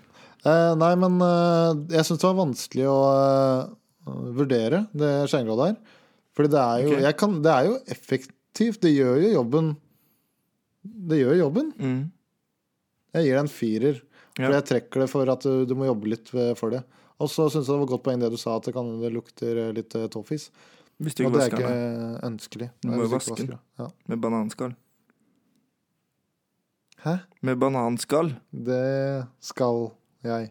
Speaker 2: Eh, nei, men eh, jeg syns det var vanskelig å eh, vurdere det skjermgrådet her. Fordi det er jo,
Speaker 1: Ok.
Speaker 2: jeg kan, det er jo effektivt. Det gjør jo jobben. Det gjør jobben.
Speaker 1: Mm.
Speaker 2: Jeg gir det en firer.
Speaker 1: Ja.
Speaker 2: For jeg trekker det for at du, du må jobbe litt ved- for det. Og så syns jeg det var godt poeng det du sa, at det, kan, det lukter litt eh, tåfis.
Speaker 1: Hvis du
Speaker 2: Og
Speaker 1: ikke
Speaker 2: det er
Speaker 1: vasker den
Speaker 2: ikke ønskelig.
Speaker 1: Du må
Speaker 2: Nei,
Speaker 1: jo
Speaker 2: hvis ikke
Speaker 1: vaske den.
Speaker 2: vasker det. Ja.
Speaker 1: med bananskall.
Speaker 2: Hæ?
Speaker 1: Med bananskall.
Speaker 2: Det skal jeg.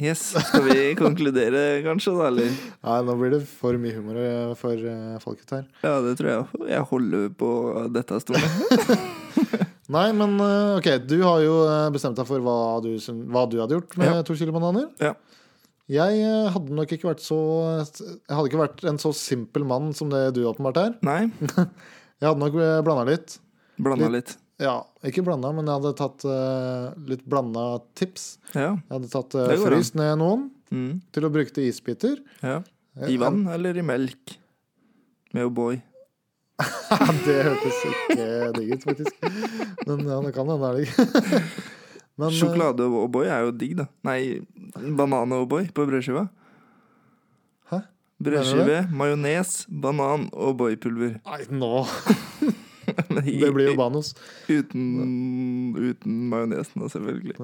Speaker 1: Yes. Skal vi [LAUGHS] konkludere, kanskje, da? Eller?
Speaker 2: Nei, nå blir det for mye humor eh, for eh, folket her.
Speaker 1: Ja, det tror jeg. Jeg holder på dette stolen.
Speaker 2: Nei, men eh, ok, du har jo eh, bestemt deg for hva du, syn- hva du hadde gjort med
Speaker 1: Ja.
Speaker 2: to kilo bananer.
Speaker 1: Ja.
Speaker 2: Jeg eh, hadde nok ikke vært så Jeg hadde ikke vært en så simpel mann som det du åpenbart er.
Speaker 1: [LAUGHS] Nei,
Speaker 2: Jeg hadde nok blanda litt.
Speaker 1: blanda litt.
Speaker 2: Ja, ikke blanda, men jeg hadde tatt eh, litt blanda tips.
Speaker 1: Ja.
Speaker 2: Jeg hadde tatt uh,
Speaker 1: Det går an.
Speaker 2: fryst ned noen
Speaker 1: Mm.
Speaker 2: til å bruke til isbiter.
Speaker 1: ja. I vann eller i melk? Med O'boy.
Speaker 2: Ja, det hørtes ikke digg ut, faktisk. Men ja, det kan hende det er digg. [LAUGHS] Men, eh,
Speaker 1: Sjokolade og O'boy er jo digg, da. Nei, banan og O'boy på brødskiva.
Speaker 2: Hæ?
Speaker 1: Brødskive, majones, banan og O'boy-pulver. [LAUGHS]
Speaker 2: eh, Nei, nå Det blir jo Banos.
Speaker 1: Uten, uten majonesen, da, selvfølgelig.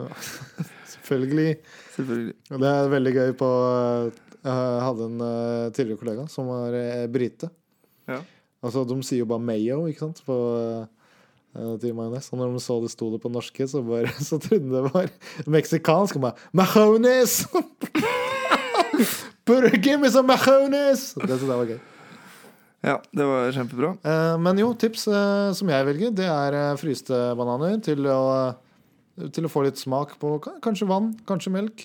Speaker 2: Selvfølgelig.
Speaker 1: selvfølgelig.
Speaker 2: Det er veldig gøy på eh, Jeg hadde en eh, tidligere kollega som var eh, brite.
Speaker 1: Ja.
Speaker 2: Altså, de sier jo bare mayo, ikke sant, på eh, til majones. Og når de så det sto det på norske, så, bare, [LAUGHS] så trodde de det var meksikansk. Og [LAUGHS] bare majones! Put, give me some majones! Det synes jeg var gøy.
Speaker 1: Ja, det var kjempebra.
Speaker 2: Eh, Men jo, tips eh, som jeg velger, det er eh, fryste bananer til å, til å få litt smak på ka- kanskje vann, kanskje melk.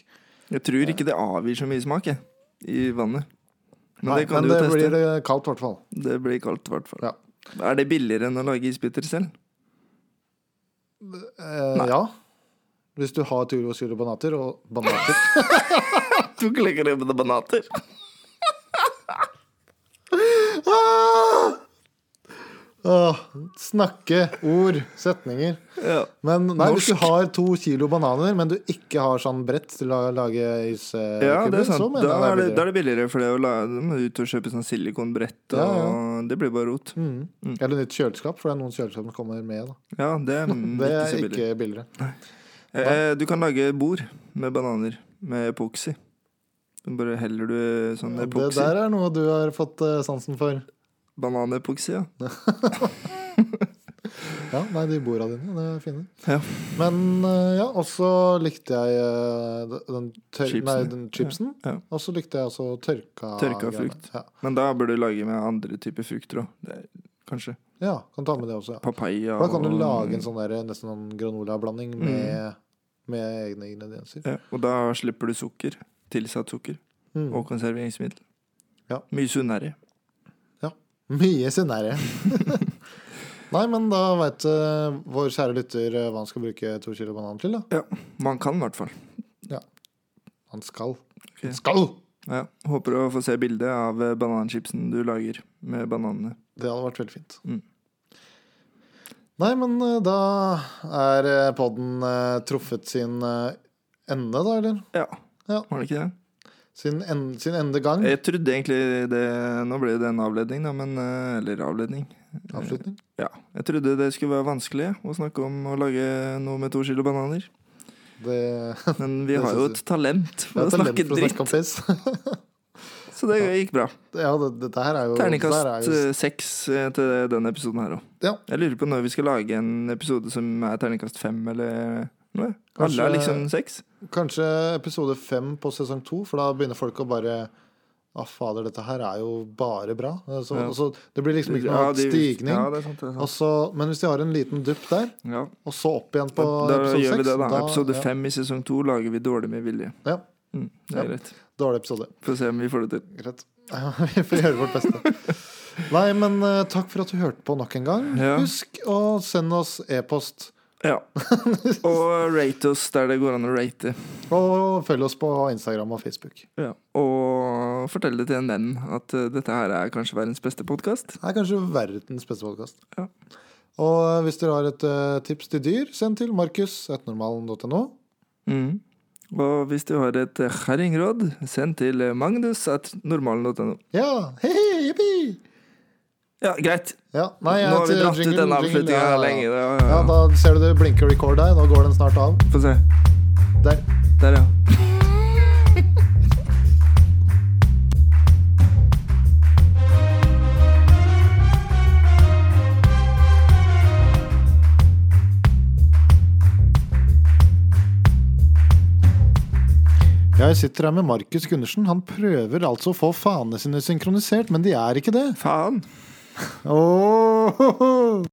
Speaker 1: Jeg tror ikke det avgir så mye smak jeg, i vannet. Men
Speaker 2: Nei,
Speaker 1: det kan
Speaker 2: men
Speaker 1: du
Speaker 2: det
Speaker 1: jo teste.
Speaker 2: blir eh, kaldt, i hvert fall.
Speaker 1: Det... blir kaldt, i hvert fall.
Speaker 2: Ja.
Speaker 1: Er det billigere enn å lage isbiter selv?
Speaker 2: Eh, ja. Hvis du har Turo og Syro banater og
Speaker 1: [LAUGHS]
Speaker 2: banater
Speaker 1: Du klikker det med banater.
Speaker 2: ah! Åh, Snakke, ord, setninger.
Speaker 1: Ja.
Speaker 2: Men nei, hvis du
Speaker 1: Norsk.
Speaker 2: har to kilo bananer, men du ikke har sånn brett til å lage iskuber,
Speaker 1: Ja, det er
Speaker 2: så
Speaker 1: sant.
Speaker 2: mener
Speaker 1: Da er
Speaker 2: jeg
Speaker 1: det,
Speaker 2: det
Speaker 1: da
Speaker 2: er
Speaker 1: er
Speaker 2: billigere.
Speaker 1: det billigere, for det å la, du må ut og kjøpe sånn silikonbrett, og
Speaker 2: Ja, ja.
Speaker 1: det blir bare rot.
Speaker 2: Mm. Eller nytt kjøleskap, for det er noen kjøleskap som kommer med. Da.
Speaker 1: Ja, det
Speaker 2: [LAUGHS]
Speaker 1: er mm,
Speaker 2: Det
Speaker 1: ikke
Speaker 2: er
Speaker 1: så billig.
Speaker 2: ikke billigere.
Speaker 1: Eh, du kan lage bord med bananer med epoksy. Du bare heller du sånn
Speaker 2: Det
Speaker 1: epoksy.
Speaker 2: der er noe du har fått eh, sansen for.
Speaker 1: Bananepoksy, ja.
Speaker 2: Ja, nei, de borda dine. Det er fine.
Speaker 1: Ja.
Speaker 2: Men eh, ja, og så likte jeg eh, den, tør
Speaker 1: Chipsen.
Speaker 2: nei, den chipsen.
Speaker 1: Ja, ja.
Speaker 2: Og så likte jeg også tørka
Speaker 1: Tørka
Speaker 2: greiene.
Speaker 1: frukt.
Speaker 2: Ja.
Speaker 1: Men da bør du lage med andre typer frukter òg. Kanskje
Speaker 2: ja, kan ta med det også. Ja.
Speaker 1: papaya
Speaker 2: For Da kan du
Speaker 1: og- Mm.
Speaker 2: lage en sånn der, nesten sånn granolablanding med, med egne ingredienser.
Speaker 1: ja, Og da slipper du sukker. Tilsatt sukker.
Speaker 2: Mm.
Speaker 1: Og konserveringsmiddel.
Speaker 2: Ja.
Speaker 1: Mye sunnere.
Speaker 2: Mye sunnere. [LAUGHS] Nei, men da veit vår kjære lytter eh, hva han skal bruke to kilo banan til. da
Speaker 1: Man kan i hvert fall.
Speaker 2: Han skal.
Speaker 1: Ok.
Speaker 2: Skal!
Speaker 1: Ja. Håper å få se bilde av eh, bananchipsen du lager med bananene.
Speaker 2: Det hadde vært veldig fint.
Speaker 1: Mm.
Speaker 2: Nei, men eh, da er eh, podden eh, truffet sin eh, ende, da, eller?
Speaker 1: Ja.
Speaker 2: Ja.
Speaker 1: Var det ikke det?
Speaker 2: Sin, en, sin endegang.
Speaker 1: Jeg trodde egentlig det Nå ble det en avledning, da, men eh, Eller avledning.
Speaker 2: Avslutning.
Speaker 1: Ja. Jeg trodde det skulle være vanskelig å snakke om å lage noe med to kilo
Speaker 2: [LAUGHS]
Speaker 1: bananer.
Speaker 2: [LAUGHS] Det
Speaker 1: Men vi
Speaker 2: Det
Speaker 1: har
Speaker 2: synes
Speaker 1: jo
Speaker 2: jeg.
Speaker 1: et talent
Speaker 2: Jeg
Speaker 1: for
Speaker 2: har
Speaker 1: å
Speaker 2: talent
Speaker 1: snakke
Speaker 2: for å
Speaker 1: dritt,
Speaker 2: snakke om piss.
Speaker 1: så det gikk bra.
Speaker 2: [LAUGHS] ja, det, dette her er jo der er
Speaker 1: Terningkast
Speaker 2: jo,
Speaker 1: eh, seks eh, til denne episoden her òg.
Speaker 2: Ja.
Speaker 1: Jeg lurer på når vi skal lage en episode som er terningkast fem eller noe. Alle er
Speaker 2: Kanskje-
Speaker 1: liksom seks.
Speaker 2: Kanskje episode fem på sesong to, for da begynner folk å bare Å, fader, dette her er jo bare bra. Eh, Så,
Speaker 1: Ja.
Speaker 2: så det blir liksom ikke noe
Speaker 1: Ja, de-
Speaker 2: stigning.
Speaker 1: Ja, det er sant. Det er
Speaker 2: Og
Speaker 1: sant.
Speaker 2: så- men hvis de har en liten dupp der,
Speaker 1: Ja.
Speaker 2: og så opp igjen på
Speaker 1: da
Speaker 2: episode
Speaker 1: gjør vi
Speaker 2: seks
Speaker 1: det, da.
Speaker 2: da-
Speaker 1: Episode
Speaker 2: ja,
Speaker 1: fem i sesong to lager vi dårlig med vilje.
Speaker 2: Ja,
Speaker 1: Mm, det er
Speaker 2: Ja.
Speaker 1: greit.
Speaker 2: dårlig episode.
Speaker 1: Få se om vi får det til.
Speaker 2: Greit. [LAUGHS] Vi får gjøre vårt beste. Nei, men eh, takk for at du hørte på nok en gang.
Speaker 1: Ja.
Speaker 2: Husk å sende oss e-post. [LAUGHS]
Speaker 1: Ja. Og rate oss der det går an å rate.
Speaker 2: Og følg oss på Instagram og Facebook.
Speaker 1: Ja. Og fortell det til en venn at eh, dette her er kanskje verdens beste podkast.
Speaker 2: Det er kanskje verdens beste podkast.
Speaker 1: Ja.
Speaker 2: Og hvis dere har et eh, tips til dyr, send til markus.normalen.no.
Speaker 1: Mm. Og hvis du har et kjerringråd, send til magnus at normalen.no.
Speaker 2: Ja, hei, hei, jippi!
Speaker 1: Ja, greit.
Speaker 2: Ja, nei, jeg
Speaker 1: Nå har vi
Speaker 2: heter
Speaker 1: dratt ut
Speaker 2: Jingle,
Speaker 1: den
Speaker 2: Jingle,
Speaker 1: avslutninga
Speaker 2: ja, ja, ja.
Speaker 1: lenge. Da,
Speaker 2: Ja, da ser du det blinker record der. Nå går den snart av.
Speaker 1: Få se.
Speaker 2: Der.
Speaker 1: Der, ja.
Speaker 2: Jeg sitter her med Markus Gundersen. Han prøver altså å få fanene sine synkronisert, men de er ikke det. [LAUGHS]
Speaker 1: Faen.
Speaker 2: Åh